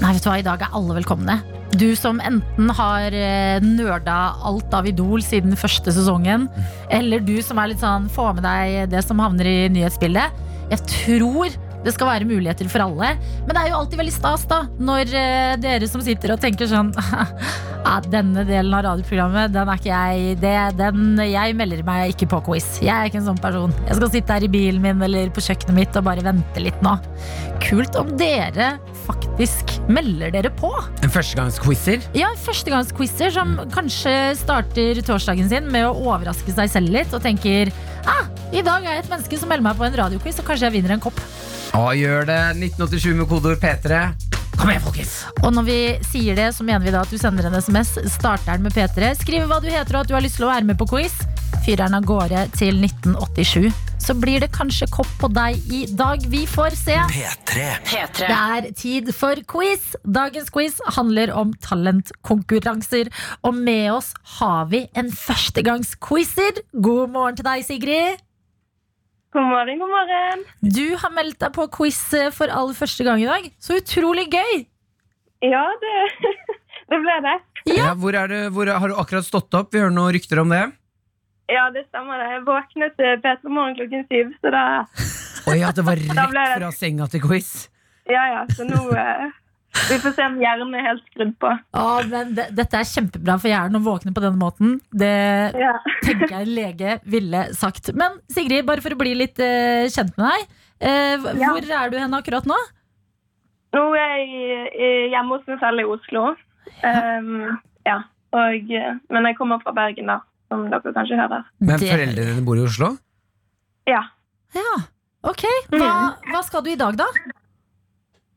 Speaker 2: Nei, vet du hva, i dag er alle velkomne. Du som enten har eh, nerda alt av Idol siden første sesongen, eller du som er litt sånn, får med deg det som havner i nyhetsbildet. Jeg tror det skal være muligheter for alle. Men det er jo alltid veldig stas da, når eh, dere som sitter og tenker sånn ja, denne delen av radioprogrammet, den er ikke jeg det, den, Jeg melder meg ikke på quiz. Jeg er ikke en sånn person. Jeg skal sitte her i bilen min eller på kjøkkenet mitt og bare vente litt nå. Kult om dere faktisk melder dere på.
Speaker 3: En førstegangsquizer.
Speaker 2: Ja, førstegangsquizer som kanskje starter torsdagen sin med å overraske seg selv litt og tenker ah, i dag er jeg et menneske som melder meg på en radioquiz, og kanskje jeg vinner en kopp.
Speaker 3: Ja, gjør det. 1987 med kodeord P3. Kom igjen, folkens!
Speaker 2: Og når vi sier det, så mener vi da at du sender en SMS, starter den med P3, skriver hva du heter og at du har lyst til å være med på quiz. Fyrer den av gårde til 1987. Så blir det kanskje kopp på deg i dag. Vi får se.
Speaker 4: P3.
Speaker 2: Det er tid for quiz. Dagens quiz handler om talentkonkurranser. Og med oss har vi en førstegangsquizer. God morgen til deg, Sigrid.
Speaker 5: God morgen, god morgen.
Speaker 2: Du har meldt deg på quiz for aller første gang i dag. Så utrolig gøy!
Speaker 5: Ja, det, det ble det.
Speaker 3: Ja, hvor er du, hvor, har du akkurat stått opp? Vi hører noen rykter om det.
Speaker 5: Ja, det stemmer det. Jeg våknet til P3 Morgen klokken syv, så da
Speaker 3: Å ja, det var
Speaker 5: Da ble
Speaker 3: rett
Speaker 5: det-
Speaker 3: fra senga til quiz.
Speaker 5: Ja, ja, så nå eh, Vi får se om hjernen er helt skrudd på.
Speaker 2: Ja, men det, Dette er kjempebra for hjernen å våkne på denne måten. Det
Speaker 5: Ja.
Speaker 2: tenker jeg en lege ville sagt. Men Sigrid, bare for å bli litt eh, kjent med deg. eh, hv-
Speaker 5: Ja.
Speaker 2: Hvor er du hen akkurat nå?
Speaker 5: Nå er jeg i- hjemme hos meg selv i Oslo. Ehm, ja. Og, eh, men jeg kommer fra Bergen, da, som dere kanskje hører.
Speaker 3: Men
Speaker 2: Det-
Speaker 3: foreldrene dine bor i Oslo?
Speaker 5: Ja.
Speaker 2: Ja, ok.
Speaker 3: Mm.
Speaker 2: Hva, hva skal du i dag, da?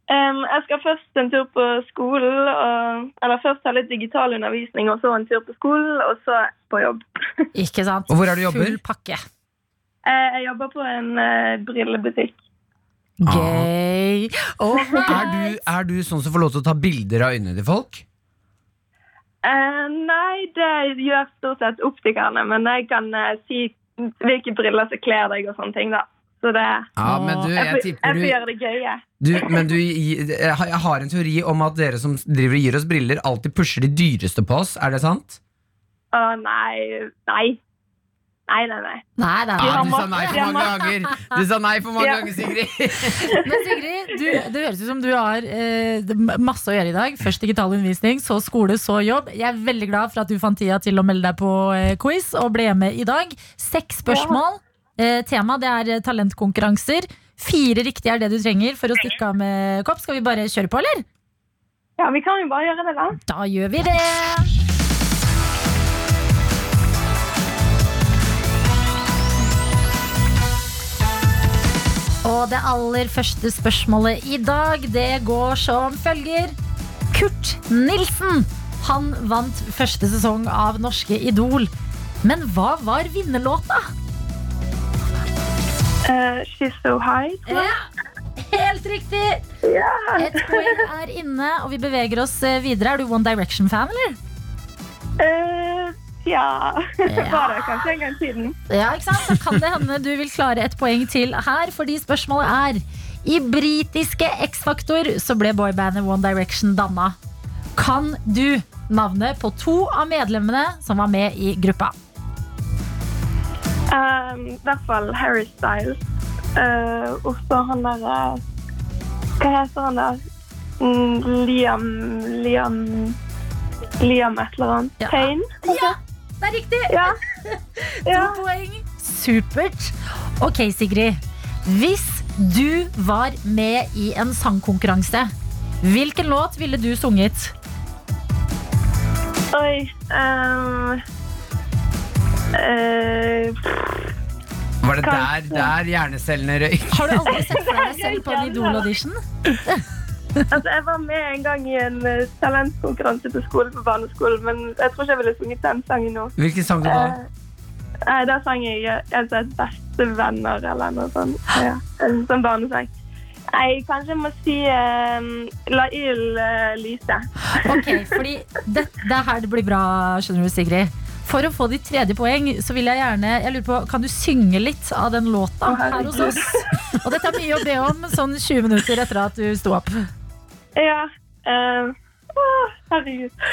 Speaker 5: Ehm, jeg skal først en tur på skolen, og, eller først ha litt digital undervisning, og så en tur på skolen, og så på jobb.
Speaker 2: Ikke sant?
Speaker 3: Og hvor er det du jobber?
Speaker 2: Full pakke.
Speaker 5: Eh, Jeg jobber på en eh, brillebutikk.
Speaker 3: Ah.
Speaker 2: Gøy. All
Speaker 3: Er
Speaker 2: right.
Speaker 3: du, er du sånn som får lov til å ta bilder av øynene til folk?
Speaker 5: Eh, nei, det gjør stort sett optikerne, men jeg kan eh, si hvilke briller som kler deg og sånne ting, da. Så det
Speaker 3: Ja, men du,
Speaker 5: Jeg,
Speaker 3: jeg
Speaker 5: får- jeg
Speaker 3: tipper
Speaker 5: får
Speaker 3: du
Speaker 5: gjøre det gøye.
Speaker 3: Du, men du, jeg har jeg har en teori om at dere som driver og gir oss briller, alltid pusher de dyreste på oss. Er det sant?
Speaker 5: Å nei. Nei. Nei, nei, nei.
Speaker 2: Nei, nei,
Speaker 3: Ja,
Speaker 2: nei.
Speaker 3: du sa nei for mange ganger, Du sa nei for mange
Speaker 5: Ja.
Speaker 3: ganger, Sigrid.
Speaker 2: Men Sigrid, du, det høres ut som du har eh, det er masse å gjøre i dag. Først digital undervisning, så skole, så jobb. Jeg er veldig glad for at du fant tida til å melde deg på eh, quiz og ble med i dag. Seks spørsmål. Eh, tema det er eh, talentkonkurranser. Fire riktige er det du trenger for å stikke av med kopp. Skal vi bare kjøre på, eller?
Speaker 5: Ja, vi kan jo bare gjøre det, da.
Speaker 2: Da gjør vi det. Og det aller første spørsmålet i dag, det går som følger. Kurt Nilsen. Han vant første sesong av Norske Idol. Men hva var vinnerlåta?
Speaker 5: Eh, she's so high. tror jeg.
Speaker 2: Helt riktig! Et poeng er inne, og vi beveger oss eh, videre. Er du One Direction-fan, eller?
Speaker 5: Eh, ja Var det kanskje en gang siden?
Speaker 2: Ja, ikke sant? Så kan det hende du vil klare et poeng til her, fordi spørsmålet er I britiske X-Faktor så ble boybandet One Direction danna. Kan du navnet på to av medlemmene som var med i gruppa?
Speaker 5: Um, I hvert fall Harry Styles. Eh, og så han der eh, Hva heter han der? Mm, Liam Liam Liam et eller annet.
Speaker 2: Ja.
Speaker 5: Payne?
Speaker 2: Ja, det er riktig!
Speaker 5: Ja. ja.
Speaker 2: To poeng. Supert. Ok, Sigrid. Hvis du var med i en sangkonkurranse, hvilken låt ville du sunget?
Speaker 5: Oi. Um, eh,
Speaker 3: Var det der, der hjernecellene røyk?
Speaker 2: Har du aldri sett for deg selv på en Idol-audition?
Speaker 5: altså, jeg var med en gang i en eh, talentkonkurranse på skole på barneskolen, men jeg tror ikke jeg ville sunget den sangen nå.
Speaker 3: Hvilken sang du da?
Speaker 5: Eh, Nei, da sang jeg eh, altså, et bestevenner eller noe sånt. Ja, en sånn barnesang. Nei, kanskje jeg må si eh, La ild eh, lyse.
Speaker 2: Ok, fordi det, det er her det blir bra, skjønner du, Sigrid. For å få ditt tredje poeng, så vil jeg gjerne Jeg lurer på, Kan du synge litt av den låta
Speaker 5: Å,
Speaker 2: her
Speaker 5: herregud.
Speaker 2: hos oss? Og dette er mye å be om sånn 20 minutter etter at du sto opp.
Speaker 5: Ja. eh, å, herregud.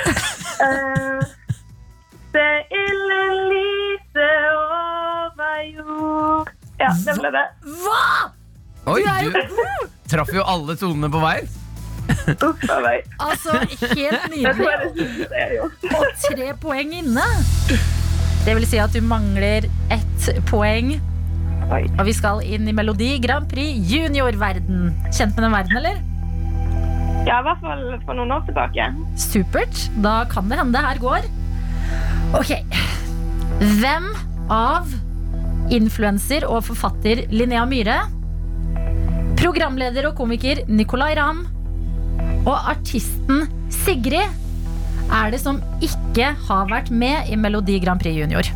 Speaker 5: Eh, det ille lyse over jord. Ja, det ble det.
Speaker 2: Hva?!
Speaker 3: Oi,
Speaker 2: Du er jo
Speaker 3: du traff jo alle tonene på veien.
Speaker 5: Uff a meg.
Speaker 2: Altså, helt
Speaker 5: Det tror jeg
Speaker 2: nydelig.
Speaker 5: det siste jeg har gjort.
Speaker 2: Og tre poeng inne. Det vil si at du mangler ett poeng.
Speaker 5: Oi.
Speaker 2: Og vi skal inn i Melodi Grand Prix juniorverden. Kjent med den verden, eller?
Speaker 5: Ja, i hvert fall for noen år tilbake.
Speaker 2: Supert. Da kan det hende det her går. Ok. Hvem av influenser og forfatter Linnea Myhre, programleder og komiker Nicolay Ramm og artisten Sigrid er det som ikke har vært med i Melodi Grand Prix Junior?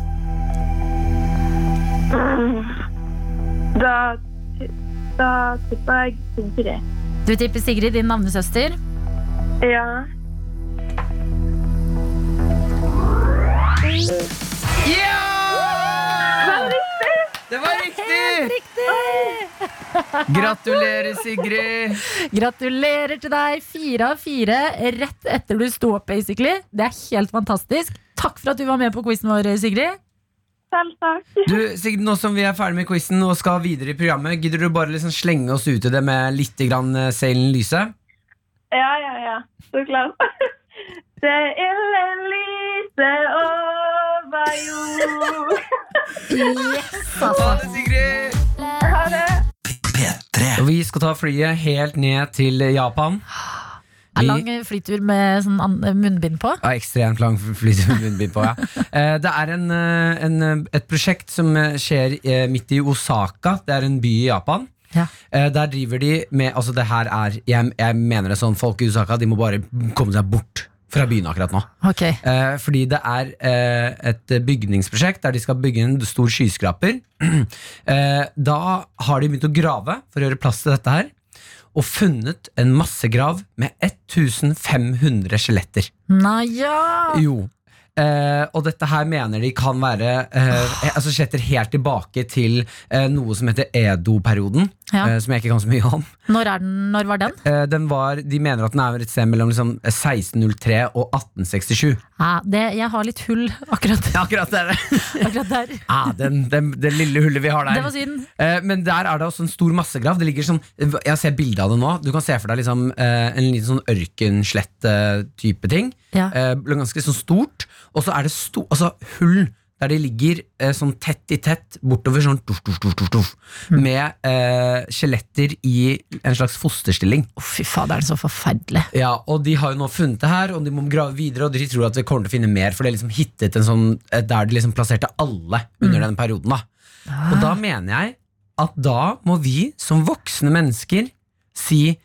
Speaker 5: Da, da tipper jeg Sigrid.
Speaker 2: Du tipper Sigrid, din navnesøster.
Speaker 5: Ja.
Speaker 3: Ja! Det var riktig! Gratulerer, Sigrid.
Speaker 2: Gratulerer til deg. Fire av fire rett etter du sto opp, basically. Det er helt fantastisk. Takk for at du var med på quizen vår, Sigrid.
Speaker 5: Selv takk.
Speaker 3: Du, Sigrid, Nå som vi er ferdig med quizen og skal videre i programmet, gidder du bare liksom slenge oss ut i det med litt grann eh, seilen lyse?
Speaker 5: Ja, ja, ja. Så klart. Det ille lyse over jord.
Speaker 2: Altså.
Speaker 3: Ha det, Sigrid!
Speaker 5: Ha det.
Speaker 4: P3
Speaker 3: Og vi skal ta flyet helt ned til Japan.
Speaker 2: En lang flytur med sånn an- munnbind på.
Speaker 3: Ja, ekstremt lang flytur med munnbind på, ja. Eh, Det er en, eh, en, eh, et prosjekt som eh, skjer eh, midt i Osaka. Det er en by i Japan.
Speaker 2: Ja.
Speaker 3: Eh, Der driver de med Altså, det her er Jeg, jeg mener det sånn, folk i Osaka de må bare komme seg bort fra byen akkurat nå.
Speaker 2: Ok.
Speaker 3: Eh, fordi det er eh, et bygningsprosjekt der de skal bygge en stor skyskraper. eh, da har de begynt å grave for å gjøre plass til dette her, og funnet en massegrav med 1500 skjeletter.
Speaker 2: Naja!
Speaker 3: Jo. Eh, og dette her mener de kan være eh, eh, Altså sletter helt tilbake til eh, noe som heter Edo-perioden.
Speaker 2: Ja.
Speaker 3: eh, som jeg ikke kan så mye om.
Speaker 2: Når, er den, når var den?
Speaker 3: Eh, den var, de mener at den er et sted mellom liksom, 1603 og 1867.
Speaker 2: Ja, det, jeg har litt hull akkurat,
Speaker 3: Akkurat det!
Speaker 2: akkurat der.
Speaker 3: ah, den, den, det lille hullet vi har der.
Speaker 2: Det var synd.
Speaker 3: Eh, Men der er det også en stor massegrav. Det ligger sånn, Jeg ser bilde av det nå. Du kan se for deg liksom, eh, en liten sånn ørkenslett-type ting.
Speaker 2: Ja.
Speaker 3: Eh, Ganske sånn stort. Og så er det sto, altså, hull der de ligger eh, sånn tett i tett bortover sånn tuff, tuff, tuff, tuff, tuff,
Speaker 2: Mm.
Speaker 3: med eh, skjeletter i en slags fosterstilling.
Speaker 2: Å, fy fader, det er så forferdelig.
Speaker 3: Ja, og de har jo nå funnet det her, og de må grave videre, og de tror at vi kommer til å finne mer, for det er liksom hittet en sånn eh, der de liksom plasserte alle under
Speaker 2: Mm.
Speaker 3: den perioden, da. Og
Speaker 2: Ah.
Speaker 3: da mener jeg at da må vi som voksne mennesker si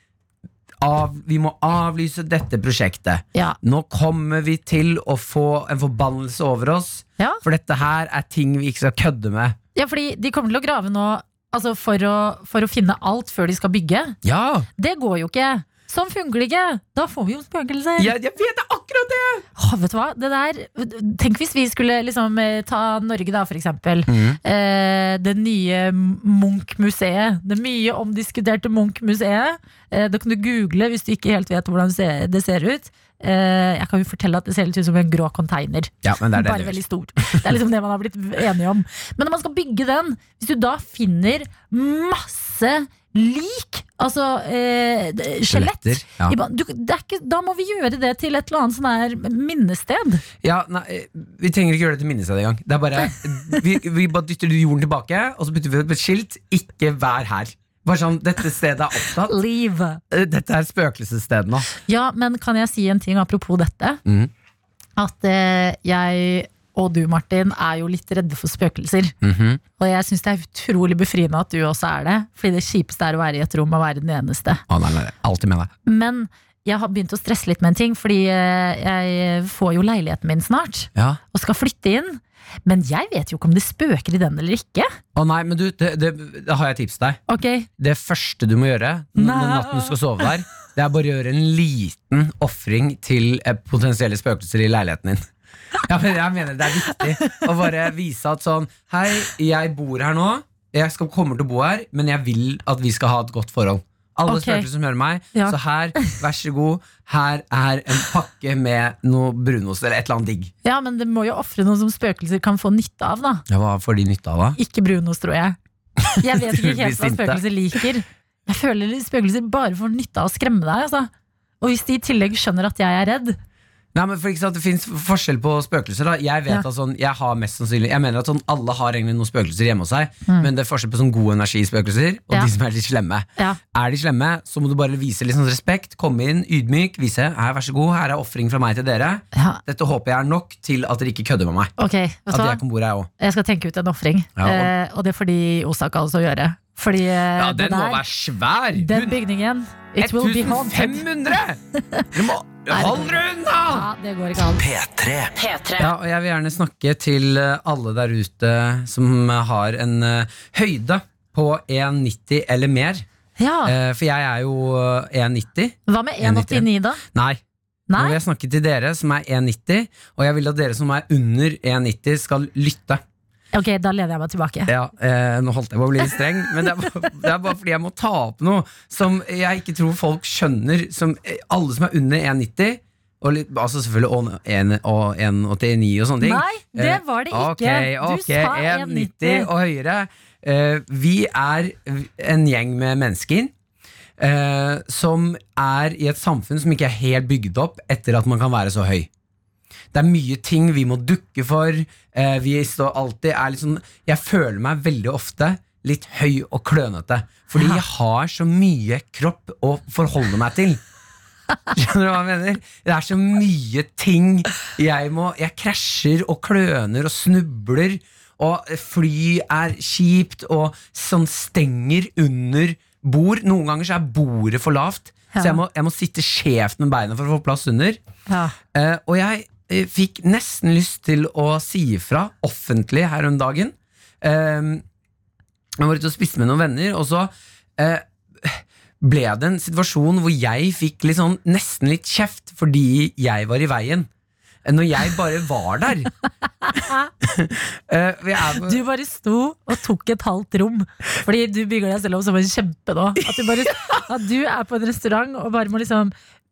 Speaker 3: av, vi må avlyse dette prosjektet.
Speaker 2: Ja.
Speaker 3: Nå kommer vi til å få en forbannelse over oss,
Speaker 2: Ja.
Speaker 3: for dette her er ting vi ikke skal kødde med.
Speaker 2: ja, fordi de kommer til å grave nå altså for, å, for å finne alt før de skal bygge.
Speaker 3: Ja,
Speaker 2: Det går jo ikke. Sånn funker det ikke. Da får vi jo spøkelser.
Speaker 3: jeg, jeg vet det er akkurat det!
Speaker 2: Åh, vet du hva? Det der, tenk hvis vi skulle liksom, eh, ta Norge, da, for eksempel. Eh, det nye Munch-museet. Det mye omdiskuterte Munch-museet. Eh, det kan du google hvis du ikke helt vet hvordan se- det ser ut. Eh, jeg kan jo fortelle at det ser litt ut som en grå container.
Speaker 3: Ja, men det er det
Speaker 2: Bare
Speaker 3: det gjør.
Speaker 2: veldig stor. Det er liksom det man har blitt enige om. Men når man skal bygge den, hvis du da finner masse lik, altså eh, d- skjelett
Speaker 3: Skjeletter, ja.
Speaker 2: i ba- du, det er ikke, Da må vi gjøre det til et eller annet sånn her minnested.
Speaker 3: Ja, nei, Vi trenger ikke gjøre det til minnested engang. Det er bare, vi, vi bare dytter jorden tilbake, og så putter vi opp et skilt. Ikke vær her. Bare sånn, Dette stedet er opptatt.
Speaker 2: Liv.
Speaker 3: Eh, Dette er spøkelsesstedet nå.
Speaker 2: Ja, men kan jeg si en ting apropos dette?
Speaker 3: Mhm.
Speaker 2: At eh, jeg og du, Martin, er jo litt redde for spøkelser.
Speaker 3: Mm. Mhm.
Speaker 2: Og jeg syns det er utrolig befriende at du også er det. Fordi det kjipeste er å være i et rom og være den eneste.
Speaker 3: Å, nei, nei, nei, Alltid med deg.
Speaker 2: Men jeg har begynt å stresse litt med en ting, fordi eh, jeg får jo leiligheten min snart,
Speaker 3: Ja.
Speaker 2: og skal flytte inn. Men jeg vet jo ikke om det spøker i den eller ikke.
Speaker 3: Å nei, men du, det, det, da har jeg et tips til deg.
Speaker 2: Ok,
Speaker 3: Det første du må gjøre n- når
Speaker 2: Nei.
Speaker 3: natten du skal sove der, det er bare å gjøre en liten ofring til eh, potensielle spøkelser i leiligheten din. Ja, men jeg mener det er viktig å bare vise at sånn Hei, jeg bor her nå. Jeg skal, kommer til å bo her, men jeg vil at vi skal ha et godt forhold. Alle
Speaker 2: Ok.
Speaker 3: spøkelser som hører meg.
Speaker 2: Ja.
Speaker 3: Så her, vær så god, her er en pakke med noe brunost eller et eller annet digg.
Speaker 2: Ja, men det må jo ofre noe som spøkelser kan få nytte av, da.
Speaker 3: Ja, Hva får de nytte av, da?
Speaker 2: Ikke brunost, tror jeg. Jeg vet
Speaker 3: Du
Speaker 2: ikke
Speaker 3: blir
Speaker 2: helt hva
Speaker 3: sint, da.
Speaker 2: spøkelser liker. Jeg føler spøkelser bare får nytte av å skremme deg, altså. Og hvis de i tillegg skjønner at jeg er redd
Speaker 3: Nei, men for ikke sant, Det fins forskjell på spøkelser. da Jeg vet
Speaker 2: Ja.
Speaker 3: at sånn, jeg har mest sannsynlig Jeg mener at sånn, alle har egentlig noen spøkelser hjemme hos seg, men det er forskjell på sånn god energi-spøkelser og
Speaker 2: Mm. Ja.
Speaker 3: de som er litt slemme.
Speaker 2: Ja,
Speaker 3: Er de slemme, så må du bare vise litt sånn respekt, komme inn ydmyk, vise her, vær så god, her er ofring fra meg til dere.
Speaker 2: ja
Speaker 3: Dette håper jeg er nok til at dere ikke kødder med meg.
Speaker 2: ok. Vet
Speaker 3: At
Speaker 2: du hva?
Speaker 3: jeg kan bo her, jeg òg.
Speaker 2: Jeg skal tenke ut en ofring.
Speaker 3: Ja, og-
Speaker 2: eh, og det får de i Osaka altså gjøre. Fordi eh, det der
Speaker 3: svær!
Speaker 2: Den bygningen. It will be haunted.
Speaker 3: Du må
Speaker 2: Hold
Speaker 3: dere unna!
Speaker 2: Ja, det går ikke an.
Speaker 4: P3.
Speaker 3: Ja, og jeg vil gjerne snakke til eh, alle der ute som eh, har en eh, høyde på 1,90 eller mer.
Speaker 2: Ja,
Speaker 3: Eh, for jeg er jo eh, 1,90.
Speaker 2: Hva med 1,89, da?
Speaker 3: Nei. Nå vil
Speaker 2: Nei?
Speaker 3: jeg snakke til dere som er 1,90, og jeg vil at dere som er under 1,90 skal lytte.
Speaker 2: Ok, da lener jeg meg tilbake.
Speaker 3: Ja, eh, Nå holdt jeg på å bli litt streng, men det er, bare, det er bare fordi jeg må ta opp noe som jeg ikke tror folk skjønner. Som eh, alle som er under 1,90, og litt, altså selvfølgelig og en- og 1,89 og sånne ting
Speaker 2: Nei, det var det ikke.
Speaker 3: Eh, Ok,
Speaker 2: Du
Speaker 3: ok,
Speaker 2: sa
Speaker 3: 1,90 og høyere. Eh, vi er en gjeng med mennesker eh, som er i et samfunn som ikke er helt bygd opp etter at man kan være så høy. Det er mye ting vi må dukke for. Eh, vi står alltid er litt sånn Jeg føler meg veldig ofte litt høy og klønete. Fordi jeg har så mye kropp å forholde meg til. Skjønner du hva jeg mener? Det er så mye ting jeg må Jeg krasjer og kløner og snubler, og fly er kjipt, og sånn stenger under bord. Noen ganger så er bordet for lavt,
Speaker 2: Ja.
Speaker 3: så jeg må, jeg må sitte skjevt med beina for å få plass under.
Speaker 2: Ja.
Speaker 3: Eh, og jeg eh, fikk nesten lyst til å si ifra offentlig her om dagen. Ehm, jeg var ute og spiste med noen venner, og så eh, ble det en situasjon hvor jeg fikk litt sånn, nesten litt kjeft fordi jeg var i veien. når jeg bare var der. Eh, jeg er på-
Speaker 2: Du bare sto og tok et halvt rom. Fordi du bygger deg selv opp som en kjempe nå. At du, bare, at du er på en restaurant og bare må liksom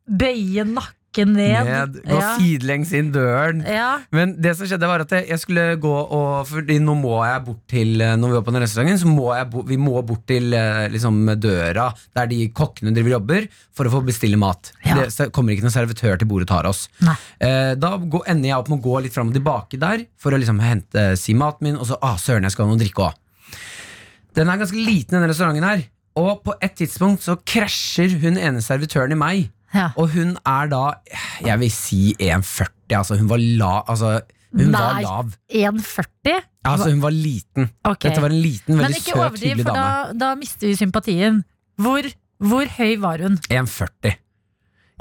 Speaker 2: bøye nakken ned.
Speaker 3: ned, gå
Speaker 2: Ja.
Speaker 3: sidelengs inn døren.
Speaker 2: Ja.
Speaker 3: Men det som skjedde var at jeg skulle gå og Fordi nå må jeg bort til eh, Når vi var på den restauranten, så må jeg bo, vi må bort til eh, liksom, døra der de kokkene driver og jobber, for å få bestille mat.
Speaker 2: Ja.
Speaker 3: Det så kommer ikke noen servitør til bordet og tar oss.
Speaker 2: Nei.
Speaker 3: Eh, da gå, ender jeg opp med å gå litt fram og tilbake der for å liksom hente si maten min, og så ah, søren, jeg skal ha noe å drikke òg. Den er ganske liten, denne restauranten her. Og på et tidspunkt så krasjer hun ene servitøren i meg.
Speaker 2: Ja.
Speaker 3: Og hun er da, jeg vil si 1,40, altså hun var la, altså hun var
Speaker 2: Nei.
Speaker 3: lav.
Speaker 2: 1,40?
Speaker 3: Altså hun var liten.
Speaker 2: Ok.
Speaker 3: Dette var en liten,
Speaker 2: Men
Speaker 3: veldig
Speaker 2: ikke
Speaker 3: søt,
Speaker 2: overdriv,
Speaker 3: hyggelig
Speaker 2: for
Speaker 3: dame.
Speaker 2: da, da mister vi sympatien. Hvor, hvor høy var hun?
Speaker 3: 1,40.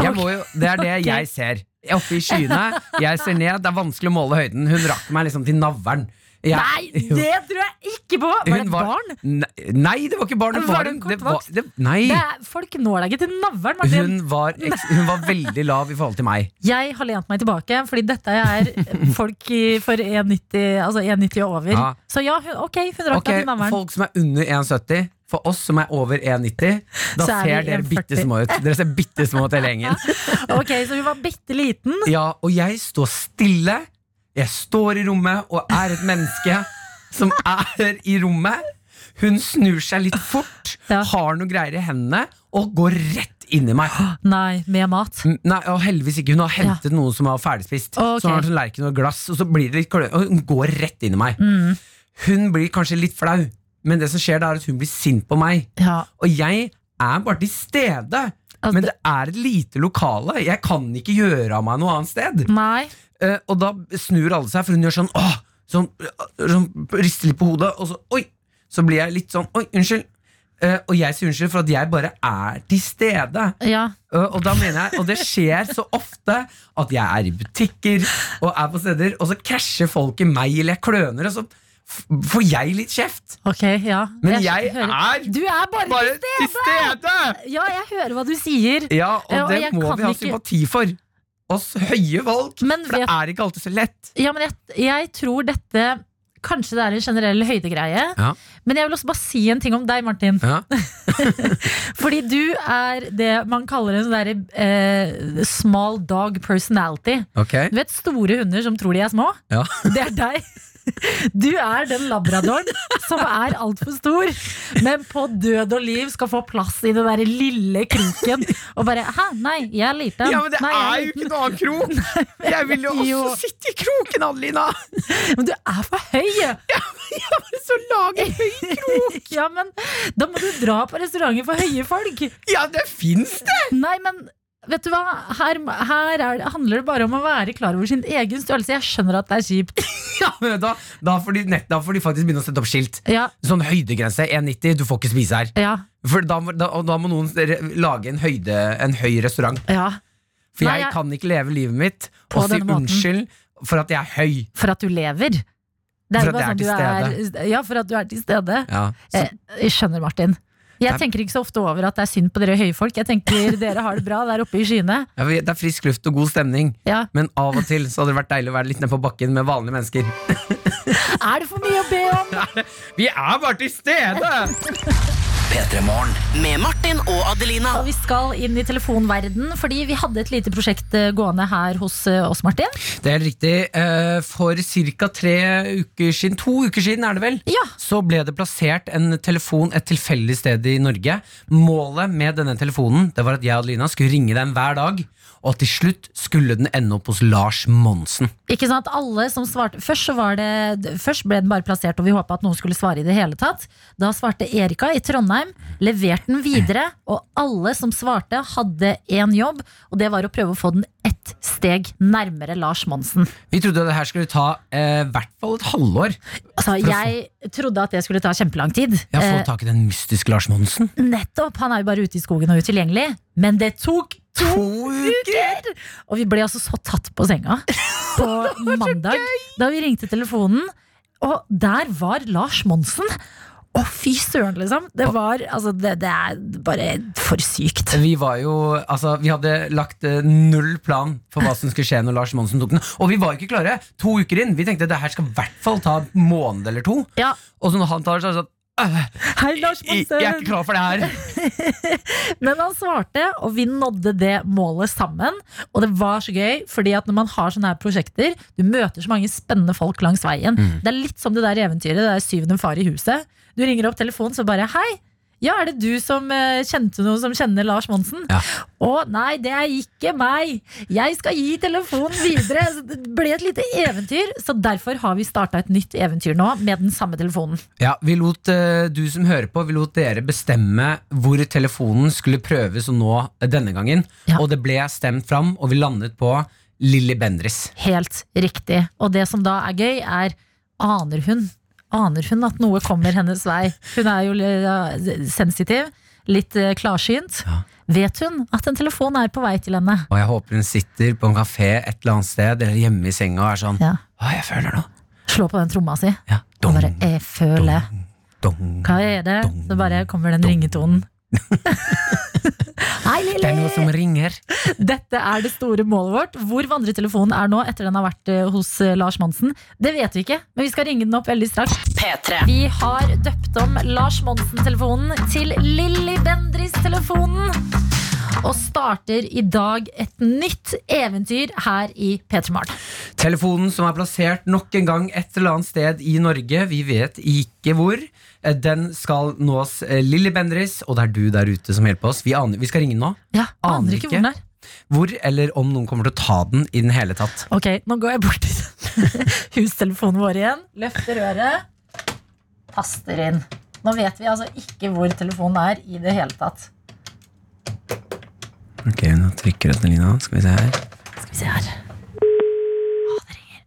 Speaker 3: Jeg må jo, det er det
Speaker 2: Ok.
Speaker 3: jeg ser. Oppe i skyene, jeg ser ned, det er vanskelig å måle høyden. Hun rakk meg liksom til navlen. Jeg-
Speaker 2: Nei,
Speaker 3: Jo.
Speaker 2: det tror jeg ikke på! Var det
Speaker 3: Hun
Speaker 2: et barn?
Speaker 3: Ne- Nei, det var ikke barn. Det
Speaker 2: Var
Speaker 3: var,
Speaker 2: det
Speaker 3: en-
Speaker 2: en
Speaker 3: det var,
Speaker 2: kortvokst?
Speaker 3: det, nei,
Speaker 2: Det er, folk når deg ikke til navlen, Martin.
Speaker 3: hun var, eks- hun var veldig lav i forhold til meg.
Speaker 2: Jeg har lent meg tilbake, fordi dette er folk i, for 1,90 altså 1,90 og over.
Speaker 3: Ja.
Speaker 2: Så ja, hun, ok, hun rakk
Speaker 3: Ok,
Speaker 2: deg til navlen.
Speaker 3: Folk som er under 1,70 For oss som er over 1,90 Da
Speaker 2: Så er
Speaker 3: ser
Speaker 2: vi
Speaker 3: dere
Speaker 2: 1,40.
Speaker 3: bitte små ut Dere ser bitte små ut hele gjengen
Speaker 2: Ok, Så hun var bitte liten.
Speaker 3: Ja, og jeg står stille Jeg står i rommet og er et menneske Som er i rommet Hun snur seg litt fort
Speaker 2: Ja.
Speaker 3: Har noen greier i hendene Og går rett inn i meg
Speaker 2: Nei, med mat.
Speaker 3: Mm, Nei, og heldigvis ikke Hun har hentet noen som var ferdigspist
Speaker 2: Ok.
Speaker 3: Så hun har sånn lerken og glass Og så blir det litt klø Og hun går rett inn i meg
Speaker 2: Mm.
Speaker 3: Hun blir kanskje litt flau Men det som skjer da er at hun blir sint på meg
Speaker 2: Ja,
Speaker 3: Og jeg er bare til stede.
Speaker 2: Altså,
Speaker 3: men det er et lite lokale. Jeg kan ikke gjøre av meg noe annet sted.
Speaker 2: Nei.
Speaker 3: Eh, og da snur alle seg, for hun gjør sånn åh, sånn, øh, sånn rister litt på hodet, og så oi! Så blir jeg litt sånn oi, unnskyld. Eh, og jeg sier unnskyld for at jeg bare er til stede.
Speaker 2: Ja.
Speaker 3: Eh, og da mener jeg, og det skjer så ofte at jeg er i butikker og er på steder, og så krasjer folk i meg, eller jeg kløner, og så f- får jeg litt kjeft.
Speaker 2: Ok, ja.
Speaker 3: Men jeg er
Speaker 2: Du er bare,
Speaker 3: bare til stede!
Speaker 2: Ja, jeg hører hva du sier. Ja,
Speaker 3: Ja, og
Speaker 2: og
Speaker 3: det
Speaker 2: jeg
Speaker 3: må
Speaker 2: kan
Speaker 3: vi ha
Speaker 2: ikke-
Speaker 3: sympati for. Oss høye folk.
Speaker 2: Men
Speaker 3: For det
Speaker 2: vet-
Speaker 3: er ikke alltid så lett.
Speaker 2: Ja, men jeg, jeg tror dette Kanskje det er en generell høydegreie.
Speaker 3: Ja.
Speaker 2: Men jeg vil også bare si en ting om deg, Martin. Fordi du er det man kaller en sånn derre eh, small dog personality.
Speaker 3: Ok
Speaker 2: Du vet store hunder som tror de er små?
Speaker 3: Ja.
Speaker 2: Det er deg. Du er den labradoren som er altfor stor, men på død og liv skal få plass i den derre lille kroken. Og bare 'hæ, nei, jeg er liten'.
Speaker 3: Ja, men det
Speaker 2: nei, jeg
Speaker 3: er jo ikke noen annen krok! Jeg vil jo også
Speaker 2: Jo.
Speaker 3: sitte i kroken, Adelina!
Speaker 2: liten». Men du er for høy!
Speaker 3: Så lage høy krok!
Speaker 2: Ja, men da må du dra på restauranter for høye folk.
Speaker 3: Ja, det fins, det!
Speaker 2: Nei, men vet du hva? Her, her er, det- handler det bare om å være klar over sin egen størrelse. Jeg skjønner at det er kjipt.
Speaker 3: Ja, men da, da, får de, nett, da får de faktisk begynne å sette opp skilt.
Speaker 2: Ja,
Speaker 3: Sånn høydegrense 1,90, du får ikke spise her.
Speaker 2: ja,
Speaker 3: For da, må- da, og da må noen re- lage en, høyde, en høy restaurant.
Speaker 2: ja.
Speaker 3: For
Speaker 2: Nei,
Speaker 3: jeg
Speaker 2: jeg-
Speaker 3: kan ikke leve livet mitt
Speaker 2: På
Speaker 3: og si
Speaker 2: denne måten.
Speaker 3: unnskyld for at jeg er høy.
Speaker 2: For at du lever. Det
Speaker 3: For
Speaker 2: er jo
Speaker 3: at
Speaker 2: bare sånn
Speaker 3: jeg
Speaker 2: du
Speaker 3: er
Speaker 2: er Ja, for at du er til stede.
Speaker 3: Ja,
Speaker 2: Eh, Jeg skjønner, Martin. Jeg
Speaker 3: Det er-
Speaker 2: tenker ikke så ofte over at det er synd på dere høye folk. Jeg tenker dere har det bra der oppe i skyene.
Speaker 3: Ja, vi- Det er frisk luft og god stemning.
Speaker 2: Ja.
Speaker 3: Men av og til så hadde det vært deilig å være litt nede på bakken med vanlige mennesker.
Speaker 2: Er det for mye å be om?
Speaker 3: Vi er bare til stede!
Speaker 4: P3-morgen. Med Martin og Adelina.
Speaker 2: Og vi skal inn i telefonverden, fordi vi hadde et lite prosjekt eh, gående her hos eh, oss, Martin.
Speaker 3: Det er helt riktig. Eh, For ca. tre uker siden, to uker siden er det vel,
Speaker 2: Ja.
Speaker 3: så ble det plassert en telefon et tilfeldig sted i Norge. Målet med denne telefonen det var at jeg og Adelina skulle ringe den hver dag, og til slutt skulle den ende opp hos Lars Monsen.
Speaker 2: Ikke sant, alle som svarte Først, så var det, først ble den bare plassert Og vi håpet at noen skulle svare i det hele tatt Da svarte Erika i Trondheim Leverte den videre Og alle som svarte hadde en jobb Og det var å prøve å få den ett steg nærmere Lars Monsen
Speaker 3: Vi trodde at det her skulle ta i eh, hvert fall et halvår.
Speaker 2: Altså, jeg trodde at det skulle ta kjempelang tid
Speaker 3: Jeg har
Speaker 2: eh,
Speaker 3: fått tak i den mystiske Lars Monsen.
Speaker 2: Nettopp, han er jo bare ute i skogen og utilgjengelig Men det tok to uker! Og vi ble altså så tatt på senga på mandag da vi ringte telefonen. Og der var Lars Monsen. Å, fy søren, liksom. Det var Altså, det, det er bare for sykt.
Speaker 3: Vi var jo, altså vi hadde lagt eh, null plan for hva som skulle skje når Lars Monsen tok den. Og vi var jo ikke klare! To uker inn. Vi tenkte det her skal i hvert fall ta en måned eller to.
Speaker 2: Ja.
Speaker 3: Og så når han tar det, så er det sånn «Øh,
Speaker 2: Hei, Lars
Speaker 3: jeg, jeg er
Speaker 2: Monsen!
Speaker 3: ikke klar for det her.
Speaker 2: Men han svarte, og vi nådde det målet sammen. Og det var så gøy, fordi at når man har sånne her prosjekter, du møter så mange spennende folk langs veien. Det er litt som det der eventyret, det der syvende far i huset. Du ringer opp telefonen, så bare hei. Ja, er det du som eh, kjente noen som kjenner Lars Monsen?
Speaker 3: Ja.
Speaker 2: Å nei, det er ikke meg! Jeg skal gi telefonen videre! Så det ble et lite eventyr, så derfor har vi starta et nytt eventyr nå, med den samme telefonen.
Speaker 3: Ja, vi lot eh, du som hører på, vi lot dere bestemme hvor telefonen skulle prøves å nå eh, denne gangen.
Speaker 2: Ja.
Speaker 3: Og det ble stemt fram, og vi landet på Lilly Bendriss.
Speaker 2: Helt riktig. Og det som da er gøy, er aner hun Aner hun at noe kommer hennes vei? Hun er jo li- sensitiv, litt eh, klarsynt.
Speaker 3: Ja.
Speaker 2: Vet hun at en telefon er på vei til henne?
Speaker 3: Og jeg håper hun sitter på en kafé et eller annet sted eller hjemme i senga og er sånn
Speaker 2: Ja.
Speaker 3: Hva jeg føler nå?
Speaker 2: Slå på den tromma si.
Speaker 3: Ja.
Speaker 2: Og
Speaker 3: Dong,
Speaker 2: bare «Eh, 'jeg føler'.
Speaker 3: dong.
Speaker 2: Hva er det? Så bare kommer den ringetonen. Hei,
Speaker 3: Det er noe
Speaker 2: Lilly!
Speaker 3: som ringer.
Speaker 2: Dette er det store målet vårt. Hvor vandretelefonen er nå etter den har vært eh, hos eh, Lars Monsen, det vet vi ikke. Men vi skal ringe den opp veldig straks.
Speaker 4: P3.
Speaker 2: Vi har døpt om Lars Monsen-telefonen til Lilly Bendris-telefonen. Og starter i dag et nytt eventyr her i P3 Morgen.
Speaker 3: Telefonen som er plassert nok en gang et eller annet sted i Norge, vi vet ikke hvor. Eh, Den skal nås eh, Lilly Bendriss, og det er du der ute som hjelper oss. Vi, aner, vi skal ringe nå.
Speaker 2: Ja,
Speaker 3: Aner
Speaker 2: aner ikke hvor den er.
Speaker 3: Hvor eller om noen kommer til å ta den i den hele tatt.
Speaker 2: Ok, nå går jeg bort til hustelefonen vår igjen. Løfter øret. Taster inn. Nå vet vi altså ikke hvor telefonen er i det hele tatt.
Speaker 3: Ok, nå trykker Lina. Skal vi se her.
Speaker 2: Skal vi se her. Å, det ringer.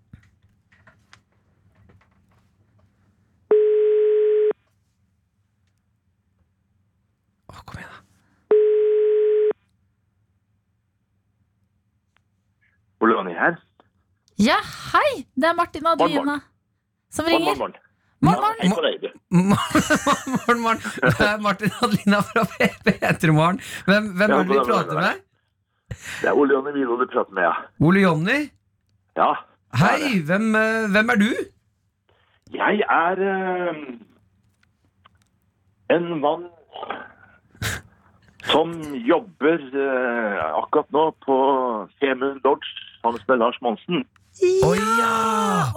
Speaker 3: Å, kom igjen da.
Speaker 6: Olani her.
Speaker 2: Ja, hei! Det er Martin og
Speaker 6: Morgen, morgen.
Speaker 2: Adelina som
Speaker 6: Morgen,
Speaker 2: ringer. Morgen,
Speaker 6: morgen.
Speaker 2: morgen.
Speaker 6: Hei på deg, du.
Speaker 3: Morgen, morgen. Det er Martin Adelina fra P3morgen. Hvem, hvem
Speaker 6: Ja,
Speaker 3: er det vi
Speaker 6: god dag,
Speaker 3: prater
Speaker 6: god dag.
Speaker 3: med?
Speaker 6: Det er Ole Jonny Milo du prater med, ja.
Speaker 3: Ole Jonny?
Speaker 6: Ja,
Speaker 3: Hei, hvem, eh, hvem er du?
Speaker 6: jeg er eh, en mann som jobber eh, akkurat nå på Femund Lodge sammen med Lars Monsen.
Speaker 3: Å ja!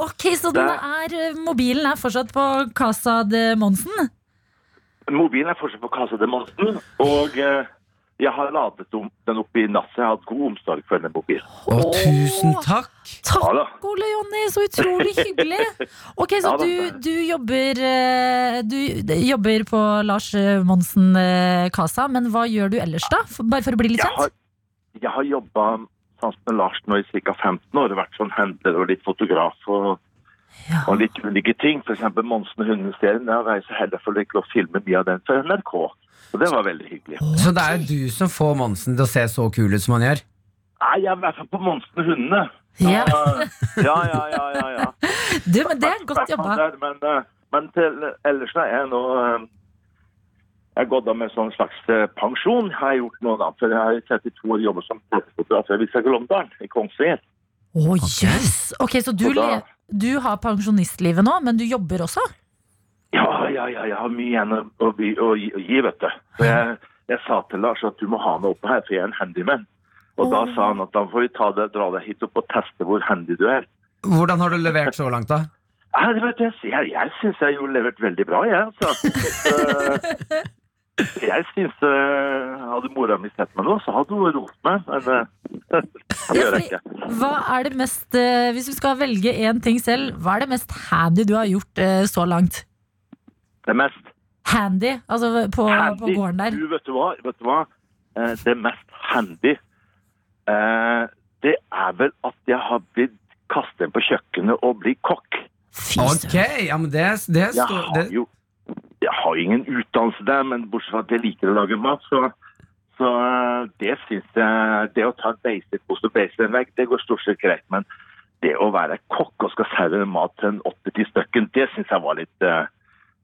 Speaker 2: Ok, så den er, eh, mobilen er fortsatt på Casa de Monsen?
Speaker 6: Mobilen er fortsatt på kassa til Monsen, og eh, jeg har ladet om- den opp i natt, så jeg har hatt god omsorg for denne mobilen.
Speaker 3: Å, tusen takk.
Speaker 6: Ja
Speaker 2: Takk,
Speaker 6: da.
Speaker 2: Ole Jonny, så utrolig hyggelig! Ok, Så
Speaker 6: Ja da.
Speaker 2: du, du, jobber, eh, du jobber på Lars eh, Monsen eh, Casa, men hva gjør du ellers, da? For, bare for å bli litt
Speaker 6: Jeg har,
Speaker 2: kjent?
Speaker 6: jeg har jobba sammen med Lars nå i ca. 15 år. Vært sånn handler og litt fotograf og,
Speaker 2: Ja.
Speaker 6: og litt ulike ting. F.eks. Monsen og hundeserien. Jeg reiser heller for å ikke å filme mye av den for NRK. Og det var veldig hyggelig.
Speaker 3: Så det er du som får Monsen til å se så kul ut som han gjør?
Speaker 6: Nei, jeg er i hvert fall på Monsen og hundene.
Speaker 2: Ja.
Speaker 6: ja, ja, ja. ja, ja.
Speaker 2: Du, men det er godt
Speaker 6: Hvertfall
Speaker 2: jobba.
Speaker 6: Der, men, eh, men til ellers er jeg nå eh, Jeg har gått av med en sånn slags eh, pensjon, har jeg gjort nå, da. For jeg har i 32 år jobbet som fotograf i Vissa Glåmdalen, i Kongsvinger.
Speaker 2: Å jøss! Ok, så du,
Speaker 6: Og da-
Speaker 2: le- du har pensjonistlivet nå, men du jobber også?
Speaker 6: Ja, ja, ja, jeg har mye igjen å, å, by- å, gi- å gi, vet du. For jeg, jeg sa til Lars at du må ha meg oppe her, for jeg er en handyman. Og da sa han at da får vi ta deg, dra deg hit opp og teste hvor handy du er.
Speaker 3: Hvordan har du levert så langt, da?
Speaker 6: Nei, det vet du, jeg, jeg, jeg syns jeg har jo levert veldig bra, jeg. Altså. Eh, jeg syns eh, Hadde mora mi sett meg nå, så hadde hun ropt meg. Men eh, det gjør jeg ikke.
Speaker 2: Hva er det mest, eh, hvis du skal velge én ting selv, hva er det mest handy du har gjort eh, så langt?
Speaker 6: Det mest
Speaker 2: Handy, altså på, på
Speaker 6: handy.
Speaker 2: gården der.
Speaker 6: Du, vet du hva? Vet du hva? Eh, Det mest handy, eh, det er vel at jeg har blitt kastet inn på kjøkkenet og blitt kokk.
Speaker 2: Fy
Speaker 3: Ok,
Speaker 2: søren.
Speaker 3: ja, men det, det
Speaker 6: Jeg
Speaker 3: står
Speaker 6: har
Speaker 3: det,
Speaker 6: jo jeg har jo ingen utdannelse der, men bortsett fra at jeg liker å lage mat, så, så eh, det syns jeg Det å ta en basic post og basic en vegg, det går stort sett greit. Men det å være kokk og skal servere mat til en 80-10 stykken, det syns jeg var litt eh,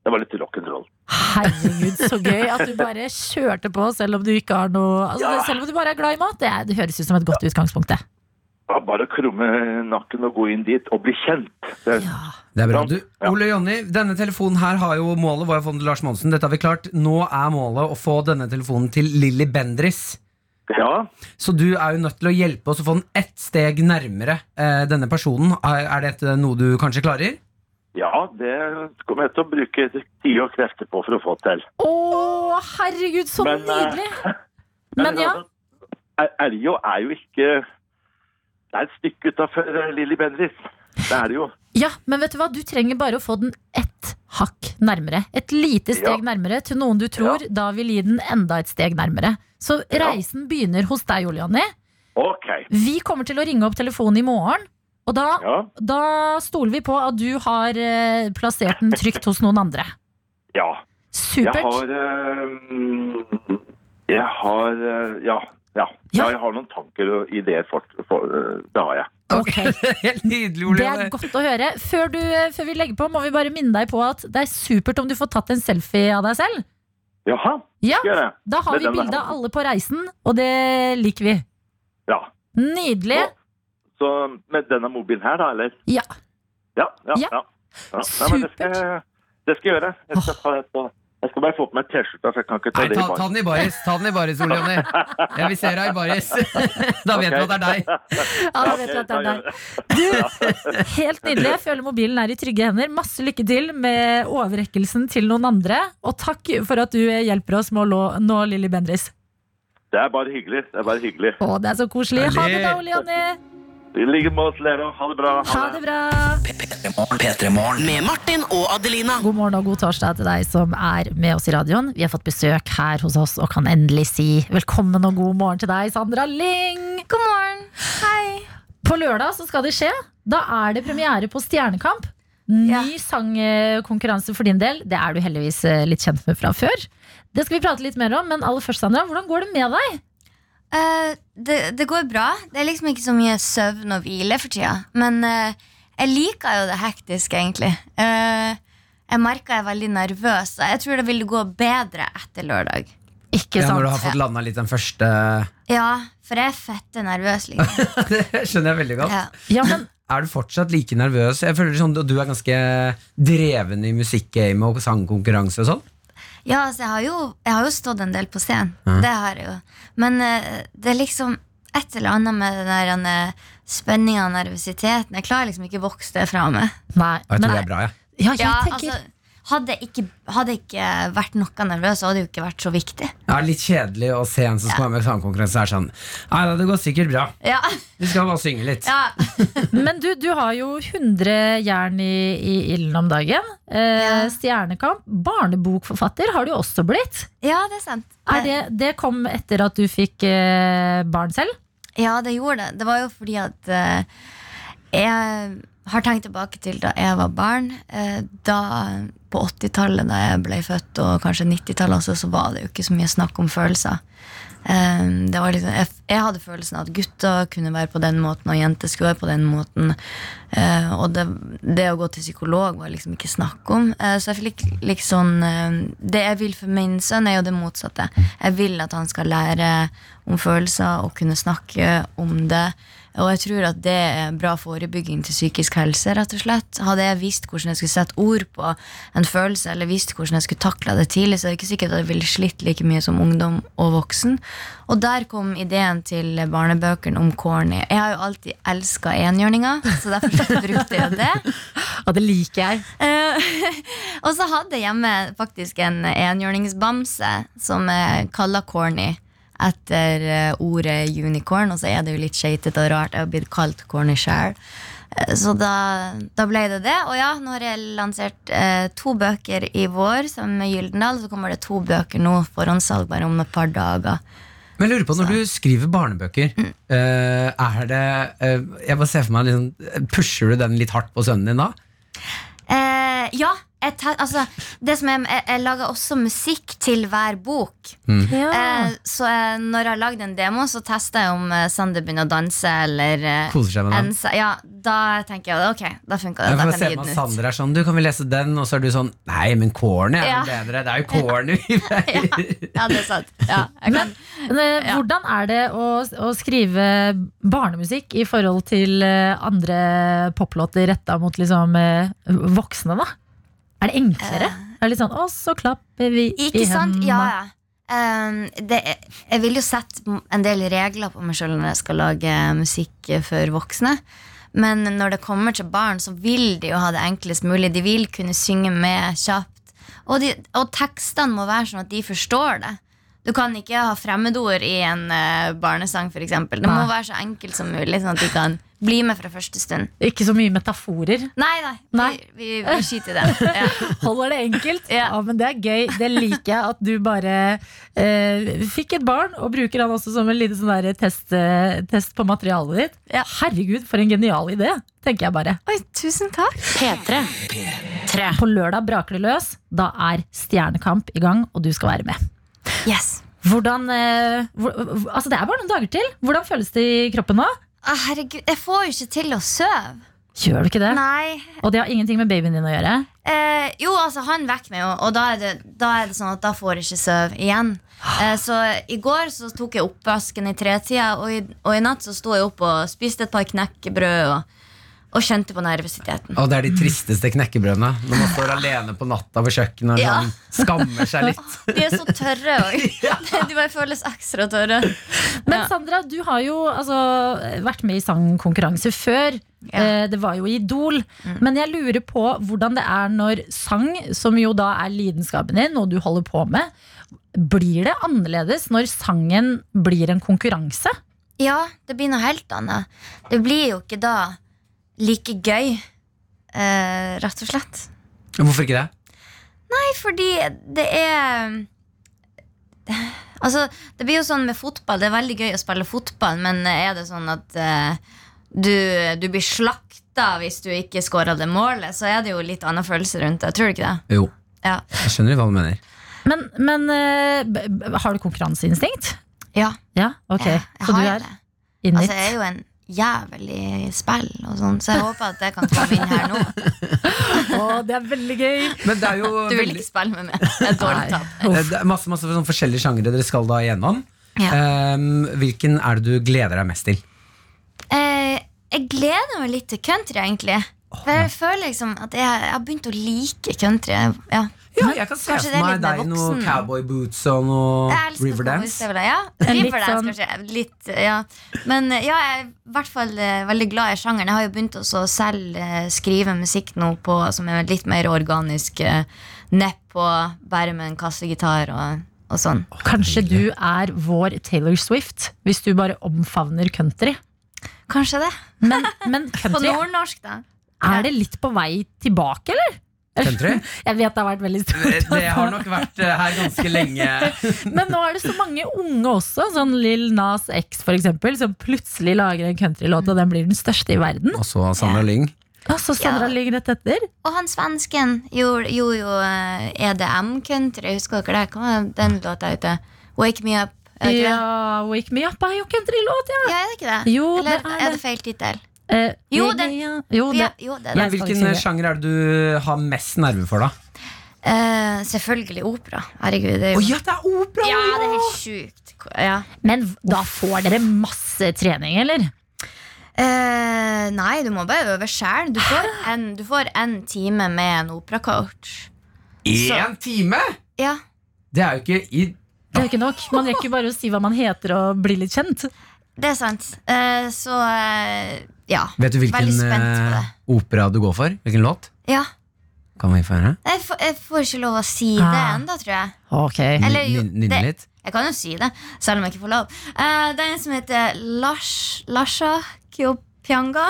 Speaker 6: Det var litt rock'n'roll.
Speaker 2: Herregud, så gøy at du bare kjørte på selv om du ikke har noe altså,
Speaker 6: Ja.
Speaker 2: Selv om du bare er glad i mat. Det, er, det høres ut som et godt utgangspunkt, det.
Speaker 6: Ja, Bare krumme nakken og gå inn dit og bli kjent. Det,
Speaker 3: Det er bra. Du,
Speaker 6: Ja.
Speaker 3: Ole Jonny, denne telefonen her har jo målet var jo å få den til Lars Monsen. Dette har vi klart. Nå er målet å få denne telefonen til Lilly Bendris.
Speaker 6: ja.
Speaker 3: Så du er jo nødt til å hjelpe oss å få den ett steg nærmere eh, denne personen. Er, er dette noe du kanskje klarer?
Speaker 6: ja, det kommer jeg til å bruke tid og krefter på for å få til.
Speaker 2: Å, herregud, så
Speaker 6: Men, eh,
Speaker 2: nydelig! Men ja.
Speaker 6: Elgå altså, er jo ikke Det er et stykke utafor eh, Lilly Bendriss. Det er det jo.
Speaker 2: Ja, men vet du hva? Du trenger bare å få den ett hakk nærmere. Et lite steg
Speaker 6: Ja.
Speaker 2: nærmere til noen du tror. Da vil gi den enda et steg nærmere. Så reisen begynner hos deg, Ole Jonny.
Speaker 6: OK.
Speaker 2: Vi kommer til å ringe opp telefonen i morgen. Og da,
Speaker 6: Ja,
Speaker 2: da stoler vi på at du har eh, plassert den trygt hos noen andre.
Speaker 6: ja. Jeg
Speaker 2: Supert.
Speaker 6: har eh, Jeg har eh, Ja. Ja. ja, jeg har noen tanker og ideer. For, for, eh, det har jeg.
Speaker 2: Ok.
Speaker 3: Helt nydelig, Ole
Speaker 2: Det er
Speaker 3: Jonny.
Speaker 2: godt å høre. Før, du, eh, før vi legger på, må vi bare minne deg på at det er supert om du får tatt en selfie av deg selv.
Speaker 6: Jaha,
Speaker 2: Ja,
Speaker 6: skal jeg det?
Speaker 2: Da har
Speaker 6: Med
Speaker 2: vi
Speaker 6: denne
Speaker 2: bilde av
Speaker 6: hånden.
Speaker 2: alle på reisen, og det liker vi.
Speaker 6: Ja.
Speaker 2: Nydelig.
Speaker 6: Og- Så med denne mobilen her, da, eller?
Speaker 2: Ja.
Speaker 6: Ja. ja,
Speaker 2: Ja.
Speaker 6: ja. ja. Nei, men det skal, jeg- det skal jeg gjøre. Jeg skal, ta det på. jeg skal bare få på meg T-skjorta, så jeg kan ikke ta
Speaker 3: Nei,
Speaker 6: det
Speaker 3: ta,
Speaker 6: i
Speaker 3: ta
Speaker 6: baren.
Speaker 3: den i baris, ta den i baris, Ole Jonny. Ja, vi ser deg i baris. Da vet vi at det er deg.
Speaker 2: Ja, da vet vi at det er deg. Du, helt nydelig. Jeg føler mobilen er i trygge hender. Masse lykke til med overrekkelsen til noen andre. Og takk for at du hjelper oss med å lå- nå Lilly Bendriss.
Speaker 6: Det er bare hyggelig. Det er bare hyggelig.
Speaker 2: Å, det er så koselig. Ha det da, Ole Jonny.
Speaker 6: I like måte, Lero. Ha det bra.
Speaker 2: Ha det bra.
Speaker 4: P3-morgen. Med Martin og Adelina.
Speaker 2: God morgen og god torsdag til deg som er med oss i radioen. Vi har fått besøk her hos oss og kan endelig si velkommen og god morgen til deg, Sandra Ling. God morgen. Hei. På lørdag så skal det skje. Da er det premiere på Stjernekamp. Ny
Speaker 7: Ja.
Speaker 2: sangkonkurranse for din del. Det er du heldigvis eh, litt kjent med fra før. Det skal vi prate litt mer om, men aller først, Sandra, hvordan går det med deg?
Speaker 7: Eh, det, det går bra. Det er liksom ikke så mye søvn og hvile for tida. Men eh, jeg liker jo det hektiske, egentlig. Eh, jeg merker jeg er veldig nervøs. og Jeg tror det vil gå bedre etter lørdag.
Speaker 2: Ikke
Speaker 3: Ja,
Speaker 2: sant?
Speaker 3: når du har fått landa litt den første
Speaker 7: Ja, for jeg er fette nervøs. Liksom.
Speaker 3: Det skjønner jeg veldig godt.
Speaker 7: Ja.
Speaker 2: Ja, men
Speaker 3: Er du fortsatt like nervøs? Jeg føler sånn, Du er ganske dreven i musikkgame og sangkonkurranse og sånn.
Speaker 7: Ja, altså, jeg har, jo, jeg har jo stått en del på scenen. Det har jeg jo. Men eh, det er liksom et eller annet med den der eh, spenninga og nervøsiteten. Jeg klarer liksom ikke å vokse det fra meg.
Speaker 2: nei.
Speaker 3: Og jeg
Speaker 2: men-
Speaker 3: tror det er bra, jeg.
Speaker 2: Ja, jeg
Speaker 7: Ja,
Speaker 2: tenker
Speaker 7: altså, hadde jeg ikke, hadde jeg ikke vært noe nervøs, så hadde det jo ikke vært så viktig.
Speaker 3: Det er litt kjedelig å se en som skal være med i sangkonkurranse er sånn Nei da, det går sikkert bra.
Speaker 7: Ja,
Speaker 3: Vi skal bare synge litt.
Speaker 7: ja.
Speaker 2: Men du, du har jo 100 jern i, i ilden om dagen. Eh,
Speaker 7: Ja.
Speaker 2: Stjernekamp. Barnebokforfatter har du jo også blitt.
Speaker 7: ja det er sant.
Speaker 2: Er det, det kom etter at du fikk eh, barn selv?
Speaker 7: Ja, det gjorde det. Det var jo fordi at eh, jeg har tenkt tilbake til da jeg var barn. Eh, da På 80-tallet, da jeg ble født, og kanskje 90-tallet også, så var det jo ikke så mye snakk om følelser. Eh, det var liksom, jeg, jeg hadde følelsen av at gutter kunne være på den måten, og jenter skulle være på den måten. Eh, og det, det å gå til psykolog var liksom ikke snakk om. Eh, så jeg fikk liksom eh, Det jeg vil for min sønn, er jo det motsatte. Jeg vil at han skal lære om følelser og kunne snakke om det. Og jeg tror at det er bra forebygging til psykisk helse. rett og slett. Hadde jeg visst hvordan jeg skulle sette ord på en følelse, eller visst hvordan jeg skulle takle det tidlig, så er det ikke sikkert at jeg ville slitt like mye som ungdom og voksen. Og der kom ideen til barnebøkene om corny. Jeg har jo alltid elska enhjørninger, så derfor brukte jeg jo det.
Speaker 2: Ja, det liker jeg.
Speaker 7: Eh, og så hadde jeg hjemme faktisk en enhjørningsbamse som er kalla corny etter eh, ordet unicorn, og så er det jo litt skøytete og rart. Jeg har blitt kalt corny sjæl. Eh, Så da, da ble det det. Og ja, nå har jeg lansert eh, to bøker i vår sammen med Gyldendal. Så kommer det to bøker nå, forhåndssalg bare om et par dager.
Speaker 3: Men jeg lurer på, når du skriver barnebøker,
Speaker 7: Mm.
Speaker 3: eh, er det eh, Jeg bare ser for meg liksom, Pusher du den litt hardt på sønnen din da?
Speaker 7: Eh, ja, jeg te- altså, det som er, jeg, jeg lager også musikk til hver bok.
Speaker 2: Ja.
Speaker 7: Eh, så eh, når jeg har lagd en demo, så tester jeg om eh, Sander begynner å danse. Eller eh,
Speaker 3: Koser seg med den.
Speaker 7: en sa- Ja, da tenker jeg ok, da funka
Speaker 3: Jeg
Speaker 7: det.
Speaker 3: får
Speaker 7: Da kan
Speaker 3: se
Speaker 7: jeg gi
Speaker 3: med
Speaker 7: den ut.
Speaker 3: Sander er sånn Du, kan vi lese den? Og så er du sånn Nei, men corny er jo
Speaker 7: Ja.
Speaker 3: bedre. Det er jo corny. vi veier».
Speaker 7: Ja, det er sant. Ja, jeg kan.
Speaker 2: Men, eh,
Speaker 7: Ja.
Speaker 2: Hvordan er det å, å skrive barnemusikk i forhold til eh, andre poplåter retta mot liksom, eh, voksne, da? Er det enklere? Er det litt sånn 'Å, så klapper vi i
Speaker 7: Eh. Ikke sant?
Speaker 2: hendene'?
Speaker 7: Ja, ja. Um, det, er- jeg vil jo sette m- en del regler på meg selv når jeg skal lage musikk eh, for voksne. Men når det kommer til barn, så vil de jo ha det enklest mulig. De vil kunne synge med kjapt. Og, de, og tekstene må være sånn at de forstår det. Du kan ikke ha fremmedord i en eh, barnesang, f.eks. Det må
Speaker 2: Nei.
Speaker 7: være så enkelt som mulig, sånn at de kan bli med fra første stund.
Speaker 2: Ikke så mye metaforer.
Speaker 7: Nei, nei.
Speaker 2: Nei.
Speaker 7: Vi, vi, vi skyter i det. Ja.
Speaker 2: Holder det enkelt? ja.
Speaker 7: Ja.
Speaker 2: men det er gøy. Det liker jeg at du bare eh, fikk et barn, og bruker han også som en liten sånn der test, eh, test på materialet ditt.
Speaker 7: Ja.
Speaker 2: Herregud, for en genial idé, tenker jeg bare.
Speaker 7: Oi, tusen takk.
Speaker 4: P3.
Speaker 2: På lørdag braker det løs. Da er Stjernekamp i gang, og du skal være med.
Speaker 7: Yes.
Speaker 2: Hvordan, eh, hvor, altså Det er bare noen dager til. Hvordan føles det i kroppen nå?
Speaker 7: Ah, Herregud, jeg får jo ikke til å sove.
Speaker 2: Gjør du ikke det?
Speaker 7: Nei.
Speaker 2: Og det har ingenting med babyen din å gjøre?
Speaker 7: Eh, jo, altså, han vekker meg jo, og da er, det, da er det sånn at da får jeg ikke sove igjen. Eh, så i går så tok jeg oppvasken i tretida, og, i- og i natt så sto jeg opp og spiste et par knekkebrød og, og kjente på nervøsiteten.
Speaker 3: Og det er de tristeste knekkebrødene. Når man står alene på natta ved kjøkkenet og
Speaker 7: Ja.
Speaker 3: sånn, skammer seg litt.
Speaker 7: De er så tørre òg. De bare føles ekstra tørre.
Speaker 2: Men
Speaker 7: Ja.
Speaker 2: Sandra, du har jo altså, vært med i sangkonkurranse før.
Speaker 7: Ja. Mm.
Speaker 2: Eh, Det var jo i Idol. Men jeg lurer på hvordan det er når sang, som jo da er lidenskapen din, noe du holder på med, blir det annerledes når sangen blir en konkurranse?
Speaker 7: Ja, det blir noe helt annet. Det blir jo ikke da like gøy, eh, rett og slett.
Speaker 3: Hvorfor ikke det?
Speaker 7: fordi det er Altså, det blir jo sånn med fotball. Det er veldig gøy å spille fotball, men er det sånn at eh, du, du blir slakta hvis du ikke scorer det målet, så er det jo litt annen følelse rundt det. Tror du ikke det?
Speaker 3: Jo,
Speaker 7: Ja.
Speaker 3: jeg skjønner hva du mener.
Speaker 2: Men, men eh, b- b- har du konkurranseinstinkt?
Speaker 7: Ja,
Speaker 2: Ja, ok.
Speaker 7: jeg, jeg
Speaker 2: Så du
Speaker 7: har jo
Speaker 2: er
Speaker 7: det.
Speaker 2: in
Speaker 7: Altså,
Speaker 2: it.
Speaker 7: jeg er jo en jævel i spill og sånn, så jeg håper at det kan komme inn her nå.
Speaker 2: Å, det er veldig gøy!
Speaker 3: Men det er jo
Speaker 7: Du vil
Speaker 3: veldig-
Speaker 7: ikke spille med meg. Det er et
Speaker 2: Nei.
Speaker 7: dårlig tap.
Speaker 3: Eh, Det er masse, masse sånn forskjellige sjangere dere skal da igjennom.
Speaker 7: Ja.
Speaker 3: Ehm, hvilken er det du gleder deg mest til?
Speaker 7: Eh, jeg gleder meg litt til country, egentlig. For jeg føler liksom at jeg, jeg har begynt å like country. Ja.
Speaker 3: Ja, jeg kan se
Speaker 7: Mm. Kanskje
Speaker 3: for
Speaker 7: det er
Speaker 3: meg
Speaker 7: litt mer
Speaker 3: deg i noen
Speaker 7: voksen.
Speaker 3: cowboy boots og noe
Speaker 7: Jeg elsker
Speaker 3: Riverdance.
Speaker 7: cowboystøvler, Ja.
Speaker 2: En litt
Speaker 7: Riverdance,
Speaker 2: sånn-
Speaker 7: kanskje. Litt, ja. Men eh, ja, jeg er i hvert fall eh, veldig glad i sjangeren. Jeg har jo begynt også å selv eh, skrive musikk nå på, som er litt mer organisk. eh, Nepp og bare med en kassegitar og, og sånn.
Speaker 2: Kanskje du er vår Taylor Swift, hvis du bare omfavner country.
Speaker 7: Kanskje det.
Speaker 2: Men, men
Speaker 7: På
Speaker 2: country
Speaker 7: nordnorsk, da.
Speaker 2: Er det litt på vei tilbake, eller?
Speaker 3: Country?
Speaker 2: Jeg vet det har vært veldig
Speaker 3: Eh,
Speaker 2: stort.
Speaker 3: Det har nok vært eh, her ganske lenge.
Speaker 2: Men nå er det så mange unge også, sånn Lill Nas X for eksempel, som plutselig lager en countrylåt, og den blir den største i verden.
Speaker 3: Også Sandra Lyng.
Speaker 2: Og så Sandra
Speaker 7: Ja.
Speaker 2: ligger rett etter.
Speaker 7: Og han svensken gjorde gjorde jo eh, EDM country, husker dere det? Hva var den låta ute? Wake me up. Er det ikke det?
Speaker 2: Ja, Wake Me Up er jo countrylåt, ja!
Speaker 7: Ja, er det ikke det?
Speaker 2: Jo, det
Speaker 7: Eller
Speaker 2: er
Speaker 7: er,
Speaker 2: det.
Speaker 7: det feil tittel?
Speaker 2: Eh,
Speaker 7: Jo,
Speaker 2: Wake
Speaker 7: den-
Speaker 2: Me Up- jo,
Speaker 7: Ja,
Speaker 2: det.
Speaker 7: jo, det er det.
Speaker 3: Men
Speaker 2: Jeg skal ikke
Speaker 3: hvilken
Speaker 2: synge.
Speaker 3: sjanger er det du har mest nerver for, da?
Speaker 7: Eh, selvfølgelig opera. Herregud, det er
Speaker 3: Å
Speaker 7: jo
Speaker 3: ja, det er opera!
Speaker 7: Ja, det er
Speaker 3: ja!
Speaker 7: helt sjukt. Ja.
Speaker 2: Men da får dere masse trening, eller?
Speaker 7: Eh, nei, du må bare øve sjæl. Du, får en- du får en time med en operacoach.
Speaker 3: Én time?!
Speaker 7: Ja.
Speaker 3: Det er jo ikke i
Speaker 2: Det er jo ikke nok. Man rekker jo bare å si hva man heter og bli litt kjent.
Speaker 7: Det er sant. Eh, så eh, ja.
Speaker 3: Vet du hvilken
Speaker 7: Veldig spent på
Speaker 3: eh,
Speaker 7: det.
Speaker 3: opera du går for? Hvilken låt?
Speaker 7: ja.
Speaker 3: Kan vi få høre?
Speaker 7: Jeg, får- jeg får ikke lov å si det
Speaker 2: Ah.
Speaker 7: ennå, tror jeg.
Speaker 2: Ok.
Speaker 7: Eller jo,
Speaker 3: Nyn- Nynne
Speaker 7: det-
Speaker 3: litt?
Speaker 7: Jeg kan jo si det, selv om jeg ikke får lov. Eh, det er en som heter Lars, Larsa Kyopianga.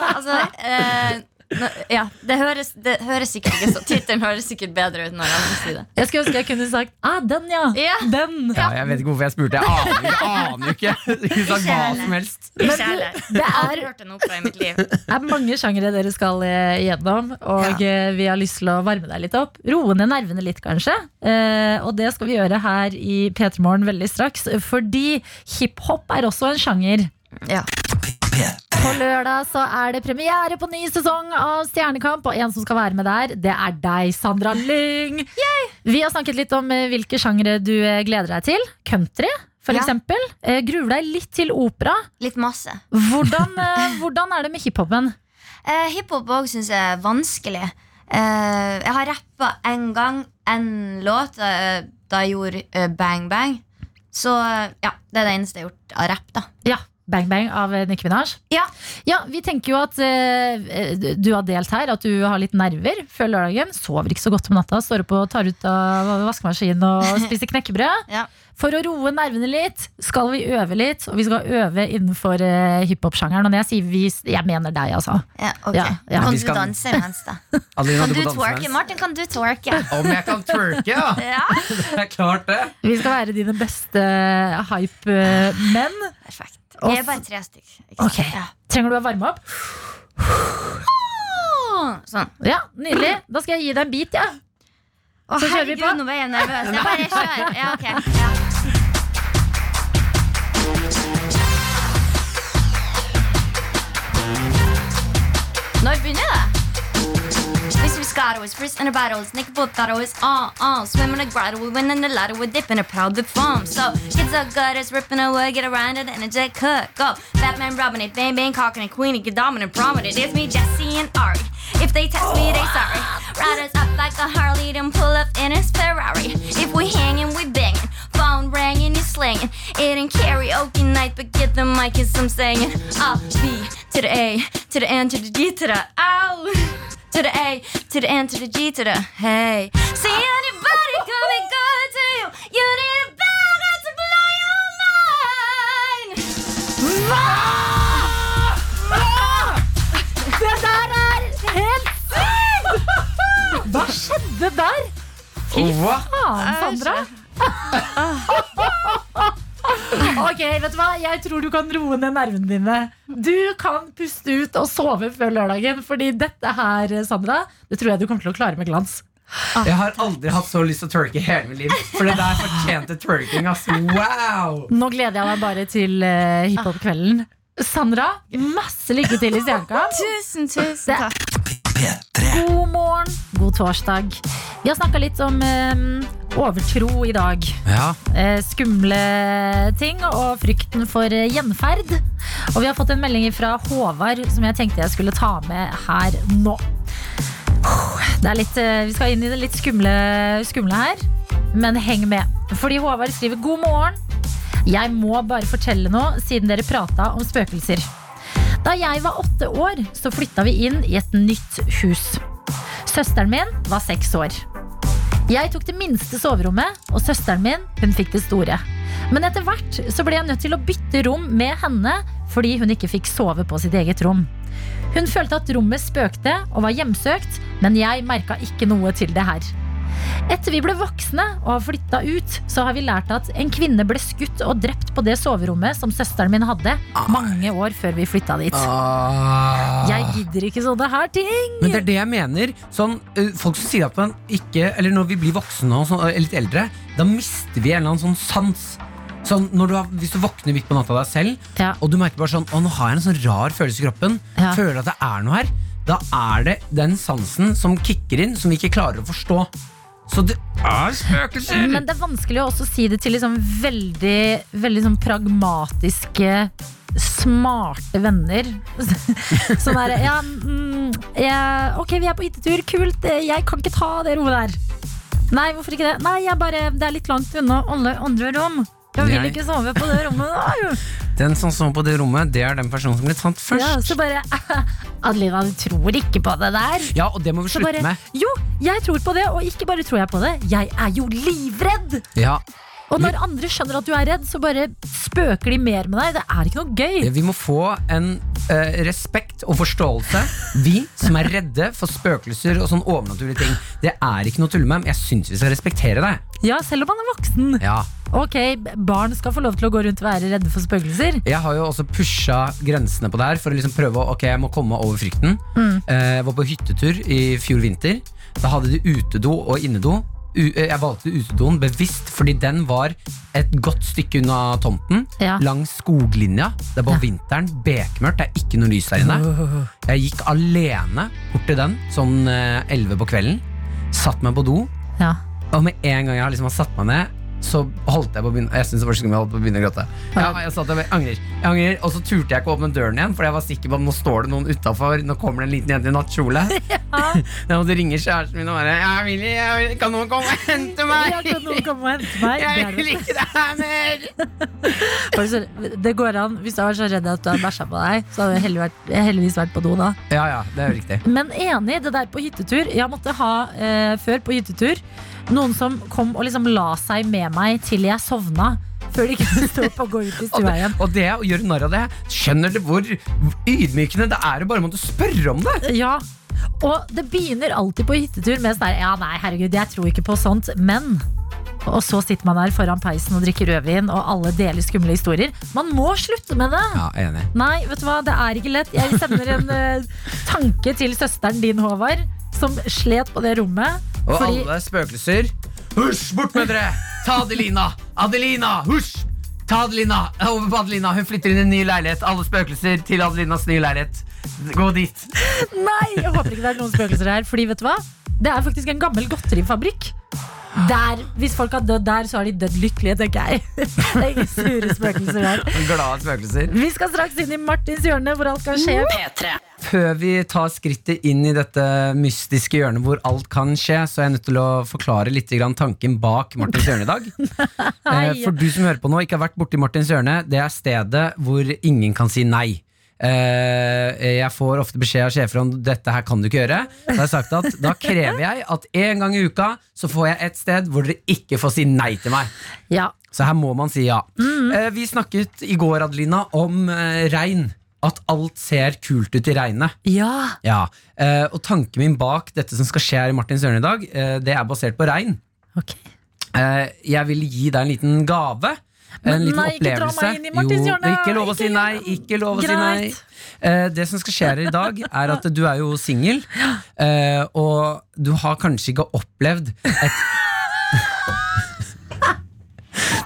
Speaker 7: altså eh, Nå- Ja, det høres, det høres sikkert ikke så Tittelen høres sikkert bedre ut når andre sier det.
Speaker 2: Jeg skulle ønske jeg kunne sagt ah, den, ja.
Speaker 7: Ja.
Speaker 2: Den.
Speaker 3: Ja, jeg vet ikke hvorfor jeg spurte. Jeg aner ikke. Jeg aner ikke. Jeg kunne sagt hva som helst.
Speaker 7: Ikke heller.
Speaker 2: Det
Speaker 7: Jeg har
Speaker 2: er,
Speaker 7: aldri hørt en opera i mitt liv.
Speaker 2: er mange sjangere dere skal eh, gjennom, og eh, vi har lyst til å varme deg litt opp. Roe ned nervene litt, kanskje. Eh, og det skal vi gjøre her i P3 Morgen veldig straks, fordi hiphop er også en sjanger.
Speaker 7: Ja.
Speaker 2: På lørdag så er det premiere på ny sesong av Stjernekamp, og en som skal være med der, det er deg, Sandra Lyng. Vi har snakket litt om eh, hvilke sjangere du eh, gleder deg til. Country, for
Speaker 7: Ja.
Speaker 2: eksempel. Eh, Gruer deg litt til opera.
Speaker 7: Litt masse.
Speaker 2: Hvordan, eh, hvordan er det med hiphopen?
Speaker 7: Eh, Hiphop òg syns jeg er vanskelig. Eh, jeg har rappa én gang én låt eh, da jeg gjorde eh, Bang Bang. Så eh, ja, det er det eneste jeg har gjort av rapp, da.
Speaker 2: Ja, Bang Bang av eh, Nicki Minaj.
Speaker 7: Ja.
Speaker 2: Ja, Vi tenker jo at eh, du har delt her, at du har litt nerver før lørdagen. Sover ikke så godt om natta, står opp og tar ut av vaskemaskinen og spiser knekkebrød.
Speaker 7: Ja.
Speaker 2: For å roe nervene litt skal vi øve litt, og vi skal øve innenfor eh, hiphop-sjangeren. Og når jeg sier vi, jeg mener deg, altså.
Speaker 7: Ja, ok.
Speaker 2: Ja, ja.
Speaker 3: Vi
Speaker 7: Kan du
Speaker 3: skal-
Speaker 7: danse imens, da?
Speaker 3: Adelina,
Speaker 7: Kan
Speaker 3: må danse
Speaker 7: du
Speaker 3: med
Speaker 7: twerke?
Speaker 3: oss.
Speaker 7: Martin, kan du twerke?
Speaker 3: Om jeg kan twerke, ja!
Speaker 7: Ja,
Speaker 3: Det er klart, det.
Speaker 2: Vi skal være dine beste eh, hype-menn.
Speaker 7: Perfekt.
Speaker 2: Og
Speaker 7: Vi er
Speaker 2: s-
Speaker 7: bare tre stykker. ikke
Speaker 2: Ok,
Speaker 7: sant?
Speaker 2: Trenger du å varme opp?
Speaker 7: Ja. Sånn.
Speaker 2: Ja, Nydelig. Da skal jeg gi deg en bit, jeg. Ja.
Speaker 7: Å,
Speaker 2: Så kjører vi
Speaker 7: herregud,
Speaker 2: på.
Speaker 7: nå ble jeg nervøs. Jeg bare kjører. Ja, ok. Ja. Når begynner det? This we got whispers and a battle. Snake boat that always on, on. uh-uh. Swim in a grotto, we win in the ladder, we dip in a proud big farm. So, kids are gutters, ripping away, get around it, and a jet cut. Go, Batman, Robin, it, bang, bang, cocking it, queen, it, get dominant, prominent. It's me, Jesse, and Ari. If they test me, they sorry. Riders up like a Harley, then pull up in his Ferrari. If we hanging, we banging. Phone ringing, it's slanging. It ain't karaoke night, but get the mic, cause I'm singing. A, B, to the A, to the N, to the D, to the O. To the A, to the N, to the G, to the hey. See anybody coming good to you? You need a banner to blow your mind.
Speaker 2: Det der er helt sykt! Hva skjedde der? Fy
Speaker 3: Hva?
Speaker 2: faen, Sandra. Ah. Ok, vet du hva? Jeg tror du kan roe ned nervene dine. Du kan puste ut og sove før lørdagen, fordi dette her, Sandra, det tror jeg du kommer til å klare med glans.
Speaker 3: Jeg har aldri hatt så lyst til å twerke i hele mitt liv. For det der fortjente twerking, ass. Wow!
Speaker 2: Nå gleder jeg meg bare til eh, hiphop-kvelden. Sandra, masse lykke til i Stjernekamp.
Speaker 7: Tusen, tusen
Speaker 2: Det-
Speaker 7: takk.
Speaker 2: God morgen, god torsdag. Vi har snakka litt om eh, overtro i dag.
Speaker 3: Ja,
Speaker 2: eh, skumle ting og frykten for eh, gjenferd. Og vi har fått en melding fra Håvard som jeg tenkte jeg skulle ta med her nå. Det er litt, eh, vi skal inn i det litt skumle, skumle her, men heng med. Fordi Håvard skriver 'God morgen'. Jeg må bare fortelle noe, siden dere prata om spøkelser. Da jeg var åtte år, så flytta vi inn i et nytt hus. Søsteren min var seks år. Jeg tok det minste soverommet, og søsteren min hun fikk det store. Men etter hvert så ble jeg nødt til å bytte rom med henne fordi hun ikke fikk sove på sitt eget rom. Hun følte at rommet spøkte og var hjemsøkt, men jeg merka ikke noe til det her. Etter vi ble voksne og har flytta ut, så har vi lært at en kvinne ble skutt og drept på det soverommet som søsteren min hadde mange år før vi flytta dit.
Speaker 3: Ah.
Speaker 2: Jeg gidder ikke sånne her ting!
Speaker 3: Men det er det jeg mener. Sånn, eh, folk som sier at man ikke Eller når vi blir voksne og sånn, eh, litt eldre, da mister vi en eller annen sånn sans. Sånn, når du har, hvis du våkner midt på natta av deg selv,
Speaker 2: Ja.
Speaker 3: og du merker bare sånn Å, nå har jeg en sånn rar følelse i kroppen.
Speaker 2: Ja.
Speaker 3: Føler at det er noe her. Da er det den sansen som kicker inn, som vi ikke klarer å forstå. Så det er spøkelser!
Speaker 2: Men det er vanskelig å også si det til liksom veldig, veldig sånn pragmatiske Smarte venner. Sånn der ja, mm, jeg, Ok, vi er på hyttetur, kult. eh, Jeg kan ikke ta det rommet der. Nei, hvorfor ikke det? Nei, jeg bare, Det er litt langt unna alle andre rom. Jeg vil
Speaker 3: Jeg-
Speaker 2: ikke sove på det rommet. Nei.
Speaker 3: Den som sover på det rommet, det er den personen som blir tatt
Speaker 2: Ja,
Speaker 3: først.
Speaker 2: så bare Adelina, du tror ikke på det der.
Speaker 3: Ja, og det må vi
Speaker 2: Så bare,
Speaker 3: slutte med.
Speaker 2: jo, jeg tror på det, og ikke bare tror jeg på det. Jeg er jo livredd!
Speaker 3: Ja,
Speaker 2: Og når andre skjønner at du er redd, så bare spøker de mer med deg. Det er ikke noe gøy.
Speaker 3: Vi må få en eh, respekt og forståelse. Vi som er redde for spøkelser og sånn overnaturlige ting. Det er ikke noe å tulle med, men jeg syns vi skal respektere deg.
Speaker 2: Ja, selv om man er voksen.
Speaker 3: Ja.
Speaker 2: Ok, barn skal få lov til å gå rundt og være redde for spøkelser.
Speaker 3: Jeg har jo også pusha grensene på det her for å liksom prøve å Ok, jeg må komme over frykten.
Speaker 2: Mm.
Speaker 3: Eh, Jeg var på hyttetur i fjor vinter. Da hadde de utedo og innedo. U eh, jeg valgte utedoen bevisst fordi den var et godt stykke unna tomten.
Speaker 2: Ja.
Speaker 3: Langs skoglinja. Det var
Speaker 2: Ja.
Speaker 3: vinteren, bekmørkt, det er ikke noe lys der inne. Jeg gikk alene bort til den sånn eh, 11 på kvelden. Satt meg på do,
Speaker 2: Ja.
Speaker 3: og med en gang jeg liksom har satt meg ned, så holdt jeg på å begynne Jeg synes det var så skummelt, jeg holdt på å begynne å gråte. Ja, jeg satt der, jeg angrer. jeg angrer Og så turte jeg ikke å åpne døren igjen, for jeg var sikker på at nå står det noen utafor. Nå kommer det en liten jente i nattkjole. Jeg måtte ringe kjæresten min og bare Jeg vil ikke, jeg vil ikke, kan noen komme og hente
Speaker 2: Ja, kan noen
Speaker 3: meg?
Speaker 2: komme og hente meg? Det
Speaker 3: Jeg
Speaker 2: er
Speaker 3: vil
Speaker 2: det.
Speaker 3: ikke det her mer!
Speaker 2: Bare så- Det går an, Hvis du var så redd at du hadde bæsja på deg, så hadde du heldig vært- heldigvis vært på do da.
Speaker 3: Ja, ja, det er jo riktig.
Speaker 2: Men enig, det der på hyttetur. Jeg måtte ha eh, før på hyttetur noen som kom og liksom la seg med meg til jeg sovna. Før de kunne stå opp og gå ut i
Speaker 3: Og
Speaker 2: stua
Speaker 3: det,
Speaker 2: igjen.
Speaker 3: og det å gjøre narr av det, skjønner du hvor ydmykende det er å bare måtte spørre om det?
Speaker 2: Ja. Og det begynner alltid på hyttetur med sånn der Ja, nei, herregud, jeg tror ikke på sånt, men Og så sitter man der foran peisen og drikker rødvin, og alle deler skumle historier. Man må slutte med det!
Speaker 3: Ja, enig.
Speaker 2: Nei, vet du hva, det er ikke lett. Jeg sender en eh, tanke til søsteren din, Håvard, som slet på det rommet.
Speaker 3: Og
Speaker 2: fordi-
Speaker 3: alle spøkelser Husj, bort med dere! Ta Adelina! Adelina! Husj! Ta Adelina! Over på Adelina! Hun flytter inn i en ny leilighet. Alle spøkelser til Adelinas nye leilighet. Gå dit.
Speaker 2: Nei, jeg håper ikke det er noen spøkelser her Fordi vet du hva? Det er faktisk en gammel godterifabrikk der, Hvis folk har dødd der, så har de dødd lykkelige, tenker jeg Det er ingen sure spøkelser her
Speaker 3: Glade spøkelser.
Speaker 2: Vi skal straks inn i Martins hjørne Hvor alt kan skje
Speaker 4: P3.
Speaker 3: Før vi tar skrittet inn i dette mystiske hjørnet hvor alt kan skje, så er jeg nødt til å forklare litt grann tanken bak Martins hjørne i dag. Eh, For du som hører på nå, ikke har vært borti Martins hjørne, det er stedet hvor ingen kan si nei. Eh, Jeg får ofte beskjed av sjefer om dette her kan du ikke gjøre. Da har jeg sagt at da krever jeg at en gang i uka så får jeg et sted hvor dere ikke får si nei til meg.
Speaker 2: Ja,
Speaker 3: Så her må man si ja. Eh, vi snakket i går, Adelina, om eh, regn. At alt ser kult ut i regnet.
Speaker 2: ja.
Speaker 3: Ja, eh, og tanken min bak dette som skal skje her i Martins hjørne i dag, eh, det er basert på regn.
Speaker 2: ok
Speaker 3: Eh, jeg vil gi deg en liten gave.
Speaker 2: Men
Speaker 3: en liten
Speaker 2: nei, ikke dra meg
Speaker 3: opplevelse.
Speaker 2: inn i Martins
Speaker 3: Jo,
Speaker 2: hjørne.
Speaker 3: Ikke lov å
Speaker 2: Ikke
Speaker 3: si
Speaker 2: gjør
Speaker 3: nei.
Speaker 2: det.
Speaker 3: Ikke lov å si
Speaker 2: Greit.
Speaker 3: nei. Eh, det som skal skje her i dag, er at du er jo singel, eh, og du har kanskje ikke opplevd et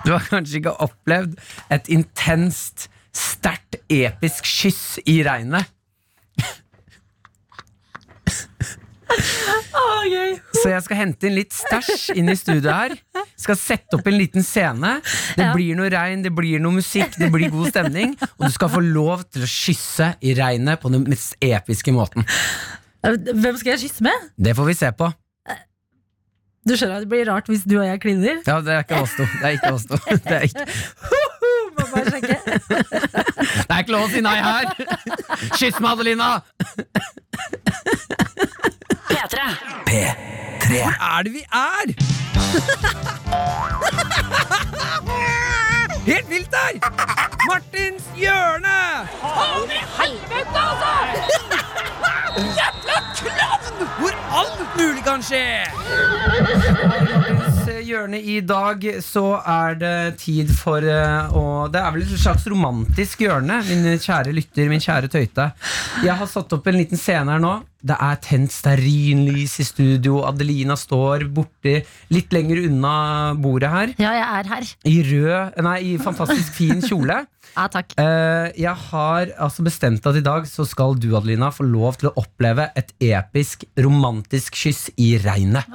Speaker 3: Du har kanskje ikke opplevd et intenst, sterkt, episk kyss i regnet. Så jeg skal hente inn litt stæsj inn i studio her. Skal sette opp en liten scene. Det blir noe regn, det blir noe musikk, det blir god stemning. Og du skal få lov til å kysse i regnet på den mest episke måten.
Speaker 2: Hvem skal jeg kysse med?
Speaker 3: Det får vi se på.
Speaker 2: Du skjønner at det blir rart hvis du og jeg kliner
Speaker 3: Ja, det er ikke oss to. Det er ikke oss to. Det er ikke,
Speaker 2: Må bare sjekke
Speaker 3: det er ikke lov å si nei her! Kyss meg, Adelina!
Speaker 4: P3.
Speaker 3: Hvor er det vi er? Helt vilt her! Martins hjørne! hvor alt mulig kan skje! Martins eh, hjørne i dag, så er det tid for eh, å Det er vel et slags romantisk hjørne, min kjære lytter, min kjære tøyte. Jeg har satt opp en liten scene her nå. Det er tent stearinlys i studio. Adelina står borti litt lenger unna bordet her.
Speaker 2: Ja, jeg er her
Speaker 3: I rød Nei, i fantastisk fin kjole.
Speaker 2: Ja, takk
Speaker 3: Eh, jeg har altså bestemt at i dag så skal du, Adelina, få lov til å oppleve et episk, romantisk kyss i regnet.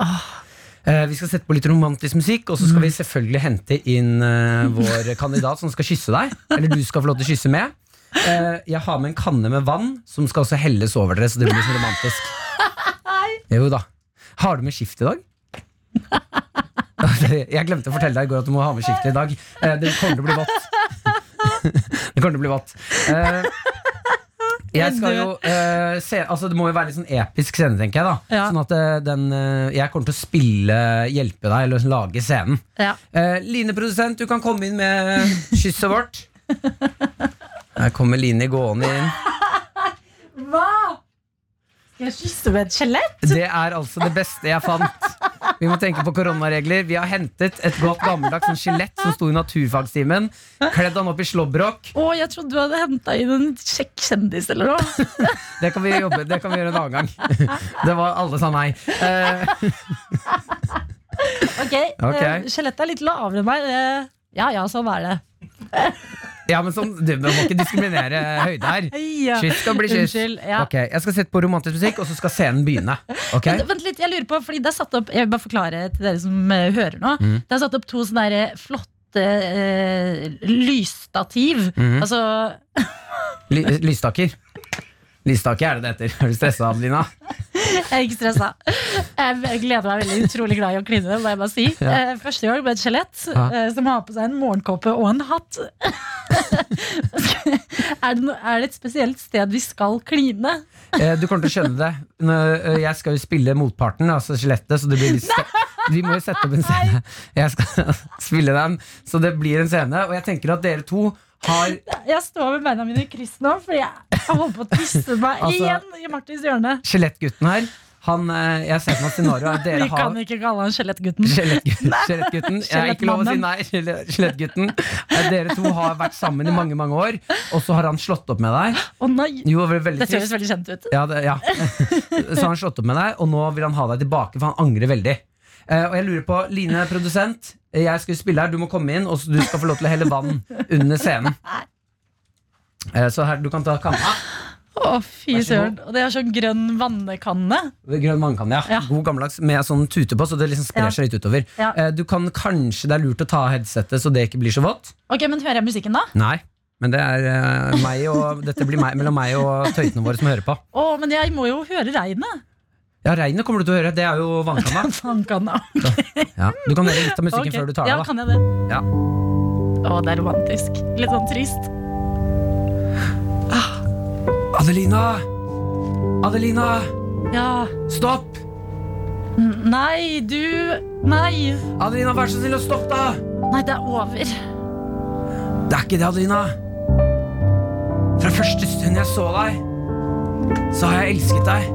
Speaker 3: Eh, vi skal sette på litt romantisk musikk, og så skal vi selvfølgelig hente inn eh, vår kandidat som skal kysse deg. Eller du skal få lov til å kysse med. Eh, jeg har med en kanne med vann som skal også helles over dere, så det blir så romantisk. Jo da. Har du med skift i dag? Jeg glemte å fortelle deg i går at du må ha med skift i dag. Eh, Det kommer til å bli vått. Det kommer til å bli vått. Eh, Jeg skal jo eh, se, altså Det må jo være litt sånn episk scene, tenker jeg. da
Speaker 2: Ja.
Speaker 3: Sånn at eh, den eh, Jeg kommer til å spille, hjelpe deg, eller liksom lage scenen.
Speaker 2: Ja.
Speaker 3: Eh, Line produsent, du kan komme inn med kysset vårt. Her kommer Line gående inn.
Speaker 2: Hva? Skal jeg kysse med et skjelett?
Speaker 3: Det er altså det beste jeg fant. Vi må tenke på koronaregler. Vi har hentet et godt gammeldags sånn skjelett som sto i naturfagstimen. Kledd han opp i slåbrok.
Speaker 2: Å, jeg trodde du hadde henta inn en kjekk kjendis eller noe.
Speaker 3: Det kan vi, jobbe, det kan vi gjøre en annen gang. Det var alle sa nei. Eh,
Speaker 2: Ok,
Speaker 3: Ok.
Speaker 2: eh, Skjelettet er litt lavere enn meg. Eh, Ja ja, sånn er det.
Speaker 3: ja, men sånn, Du må ikke diskriminere høyde her.
Speaker 2: Ja.
Speaker 3: Kyss skal bli kyss.
Speaker 2: Unnskyld, ja.
Speaker 3: Ok, Jeg skal sette på romantisk musikk, og så skal scenen begynne. Ok?
Speaker 2: Vent, vent litt, jeg lurer på, fordi det er satt opp Jeg vil bare forklare til dere som eh, hører nå
Speaker 3: Mm.
Speaker 2: Det er satt opp to sånne der flotte eh, lysstativ
Speaker 3: Mm-hmm.
Speaker 2: Altså,
Speaker 3: Ly lysstaker. Lysstaker er det det heter. Er du stressa, Adelina?
Speaker 2: jeg er ikke stressa Jeg jeg gleder meg veldig utrolig glad i å kline det, må jeg bare si Eh, Første gang ble et skjelett
Speaker 3: Ja.
Speaker 2: eh, Som har på seg en morgenkåpe og en hatt er, det no, er det et spesielt sted vi skal kline?
Speaker 3: Eh, Du kommer til å skjønne det. Nå, eh, Jeg skal jo spille motparten, altså skjelettet, så det blir litt ste- Vi må jo sette opp en scene. Jeg skal spille den, så det blir en scene. Og jeg tenker at dere to har
Speaker 2: Jeg står med beina mine i kryss nå Fordi jeg har holdt på å tisse meg
Speaker 3: Altså-
Speaker 2: igjen i Martins hjørne
Speaker 3: skjelettgutten her. Han, eh, jeg ser for meg scenarioet at dere
Speaker 2: Vi
Speaker 3: har
Speaker 2: kan ikke kalle han skjelettgutten
Speaker 3: Skjelettgutten. Skjelettgutten. Jeg er ikke lov å si
Speaker 2: Skjelettmannen.
Speaker 3: nei. Skjele- Skjelettgutten. Eh, Dere to har vært sammen i mange mange år, og så har han slått opp med deg.
Speaker 2: Å nei!
Speaker 3: Jo, det var veldig
Speaker 2: Dette høres
Speaker 3: trist.
Speaker 2: veldig kjent ut.
Speaker 3: Ja, det, ja. Så har han slått opp med deg, og nå vil han ha deg tilbake, for han angrer veldig. Eh, og jeg lurer på, Line, produsent, eh, jeg skal jo spille her, du må komme inn, og så du skal få lov til å helle vann under scenen. Eh, så her, du kan ta kanna.
Speaker 2: Ah. Å, fy
Speaker 3: Vær så
Speaker 2: søren. Og det er sånn grønn vannkanne.
Speaker 3: Grønn vannkanne, ja.
Speaker 2: Ja.
Speaker 3: God gammeldags, med sånn tute på, så det liksom
Speaker 2: Ja.
Speaker 3: sprer seg litt utover.
Speaker 2: Ja.
Speaker 3: Eh, du kan kanskje, det er lurt å ta av headsetet, så det ikke blir så vått.
Speaker 2: Ok, men hører jeg musikken da?
Speaker 3: Nei, men det er eh, meg og Dette blir meg, mellom meg og tøytene våre som hører på.
Speaker 2: Å, men jeg må jo høre regnet.
Speaker 3: Ja, regnet kommer du til å høre. Det er jo vannkanna.
Speaker 2: Vannkanne.
Speaker 3: Ja. Du kan høre litt av musikken
Speaker 2: Ok.
Speaker 3: før du tar
Speaker 2: ja,
Speaker 3: det av.
Speaker 2: kan jeg det?
Speaker 3: Ja.
Speaker 2: Å, det er romantisk. Litt sånn trist.
Speaker 3: Adelina! Adelina!
Speaker 2: Ja.
Speaker 3: Stopp!
Speaker 2: N- Nei, du Nei.
Speaker 3: Adelina, vær så snill å stoppe, da!
Speaker 2: Nei, det er over.
Speaker 3: Det er ikke det, Adelina. Fra første stund jeg så deg, så har jeg elsket deg.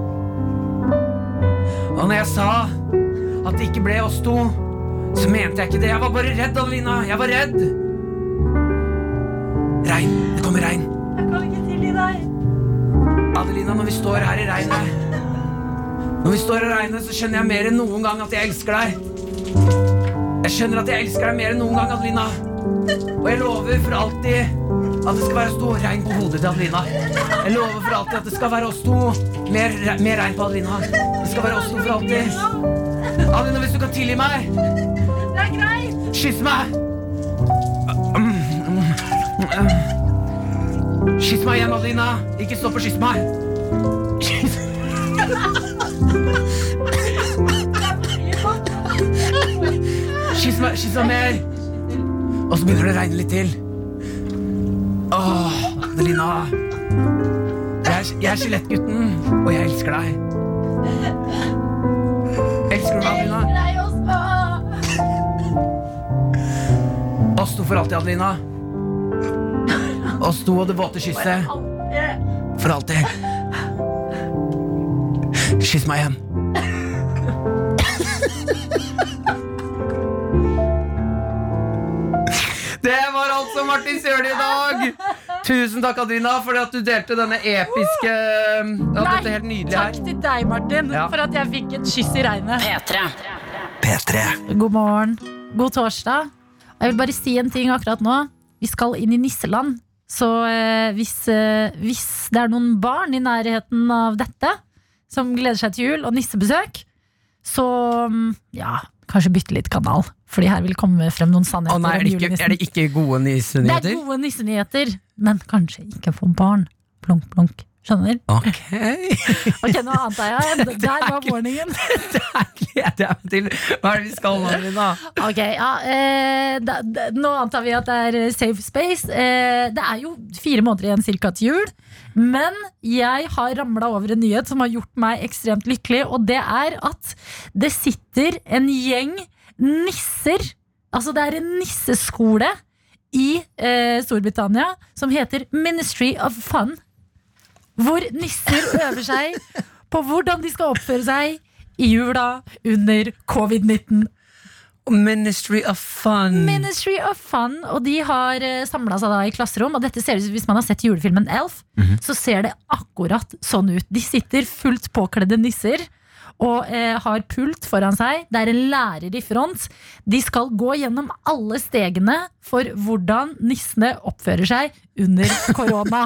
Speaker 3: Og når jeg sa at det ikke ble oss to, så mente jeg ikke det. Jeg var bare redd, Adelina. Jeg var redd. Regn. Det kommer regn.
Speaker 2: Jeg kan ikke tilgi deg.
Speaker 3: Adelina, når vi står her i regnet Når vi står i regnet, så skjønner jeg mer enn noen gang at jeg elsker deg. Jeg skjønner at jeg elsker deg mer enn noen gang, Adelina. Og jeg lover for alltid at det skal være oss to regn på hodet til Adelina. Jeg lover for alltid at det skal være oss to mer, re- mer regn på Adelina. Det skal være oss to for alltid. Adelina, hvis du kan tilgi meg Det er greit. Kyss meg. Kyss meg igjen, Adelina. Ikke stopp å kysse meg. Kyss meg, kyss meg mer. Og så begynner det å regne litt til. Åh, Adelina. Jeg er, jeg er skjelettgutten, og jeg elsker deg. Elsker du meg, Adelina? Oss to for alltid, Adelina. Oss to og det våte kysset. For alltid. Kyss meg igjen. Det var altså Martin Sørli i dag! Tusen takk, Adrina, for at du delte denne episke ja, Dette helt nydelige
Speaker 2: Takk
Speaker 3: her.
Speaker 2: til deg, Martin,
Speaker 3: Ja.
Speaker 2: for at jeg fikk et kyss i regnet.
Speaker 4: P3.
Speaker 2: God morgen. God torsdag. Jeg vil bare si en ting akkurat nå. Vi skal inn i nisseland. Så eh, hvis, eh, hvis det er noen barn i nærheten av dette som gleder seg til jul og nissebesøk, så mm, ja, kanskje bytte litt kanal. Fordi her vil komme frem noen sannheter
Speaker 3: Å nei, er
Speaker 2: om
Speaker 3: det ikke,
Speaker 2: julenissen.
Speaker 3: er det ikke gode
Speaker 2: Det er
Speaker 3: nyheter?
Speaker 2: gode nissenyheter, men kanskje ikke for barn. Plunk, plunk. Skjønner?
Speaker 8: Ok.
Speaker 2: Ok, nå ante jeg. det. Der var warningen.
Speaker 8: Der gleder jeg meg til. Hva er det vi skal nå, Lina?
Speaker 2: Ok, ja, eh, da, da, Nå antar vi at det er eh, safe space. Eh, det er jo fire måneder igjen cirka til jul. Men jeg har ramla over en nyhet som har gjort meg ekstremt lykkelig. Og det er at det sitter en gjeng nisser Altså det er en nisseskole i eh, Storbritannia som heter Ministry of Fun. Hvor nisser øver seg på hvordan de skal oppføre seg i jula under covid-19.
Speaker 3: Ministry of Fun.
Speaker 2: Ministry of Fun, og de har samla seg da i klasserom. Og dette ser ut som Hvis man har sett julefilmen Elf, så ser det akkurat sånn ut. De sitter fullt påkledde nisser og eh, har pult foran seg. Det er en lærer i front. De skal gå gjennom alle stegene for hvordan nissene oppfører seg under korona.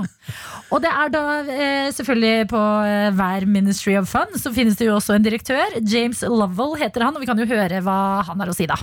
Speaker 2: og det er da eh, selvfølgelig på eh, hver Ministry of Fun så finnes det jo også en direktør. James Lovell heter han, og vi kan jo høre hva han har å si, da.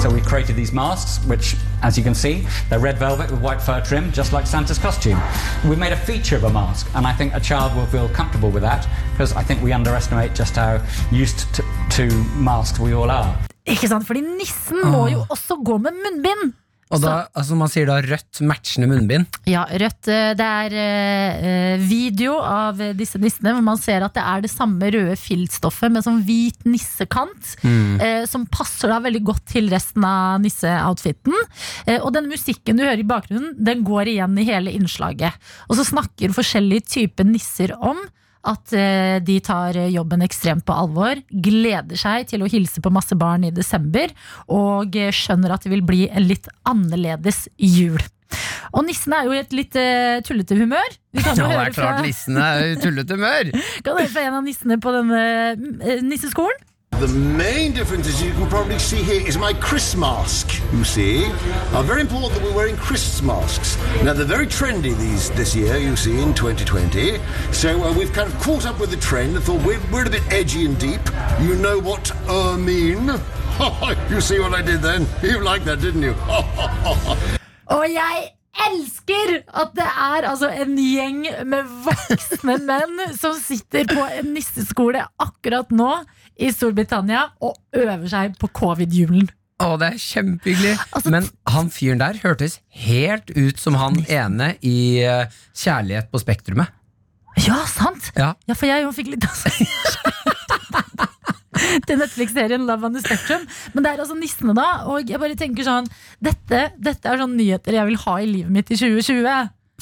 Speaker 9: So we've created these masks, which, as you can see, they're red velvet with white fur trim, just like Santa's costume. We've made a feature of a mask, and I think a child will feel comfortable with that because I think we underestimate just how used to, to masks we all are.
Speaker 2: Ikke sant? Fordi nissen må jo også gå med munnbind.
Speaker 3: Og da, altså man sier da rødt matchende munnbind.
Speaker 2: Ja, Rødt. eh, Det er eh, eh, video av eh, disse nissene hvor man ser at det er det samme røde filtstoffet med sånn hvit nissekant, eh, som passer da veldig godt til resten av nisseoutfiten. Eh, og den musikken du hører i bakgrunnen, den går igjen i hele innslaget. Og så snakker forskjellige typer nisser om at eh, de tar eh, jobben ekstremt på alvor, gleder seg til å hilse på masse barn i desember, og eh, skjønner at det vil bli en litt annerledes jul. Og nissen er jo i et litt eh, tullete humør. Vi kan jo
Speaker 3: det
Speaker 2: høre
Speaker 3: er
Speaker 2: fra,
Speaker 3: klart nissen er i tullete humør.
Speaker 2: kan høre fra en av nissene på denne eh, nisseskolen.
Speaker 10: The main difference, as you can probably see here, is my Chris mask. You see, are very important that we're wearing Chris masks. Now they're very trendy these this year. You see, in 2020, so uh, we've kind of caught up with the trend. and thought we're, we're a bit edgy and deep. You know what I mean? you see what I did then? You liked that, didn't you?
Speaker 2: Og jeg elsker at det er altså en gjeng med voksne menn som sitter på en nisseskole akkurat nå i Storbritannia og øver seg på covid-julen.
Speaker 3: Å, det er kjempehyggelig.
Speaker 2: Altså,
Speaker 3: Men han fyren der hørtes helt ut som han ene i eh, Kjærlighet på Spektrumet.
Speaker 2: Ja, sant!
Speaker 3: Ja.
Speaker 2: Ja, for jeg jo fikk litt Til Netflix-serien Love on the Spectrum. Men det er altså nissene, da. Og jeg bare tenker sånn Dette, dette er sånne nyheter jeg vil ha i livet mitt i 2020.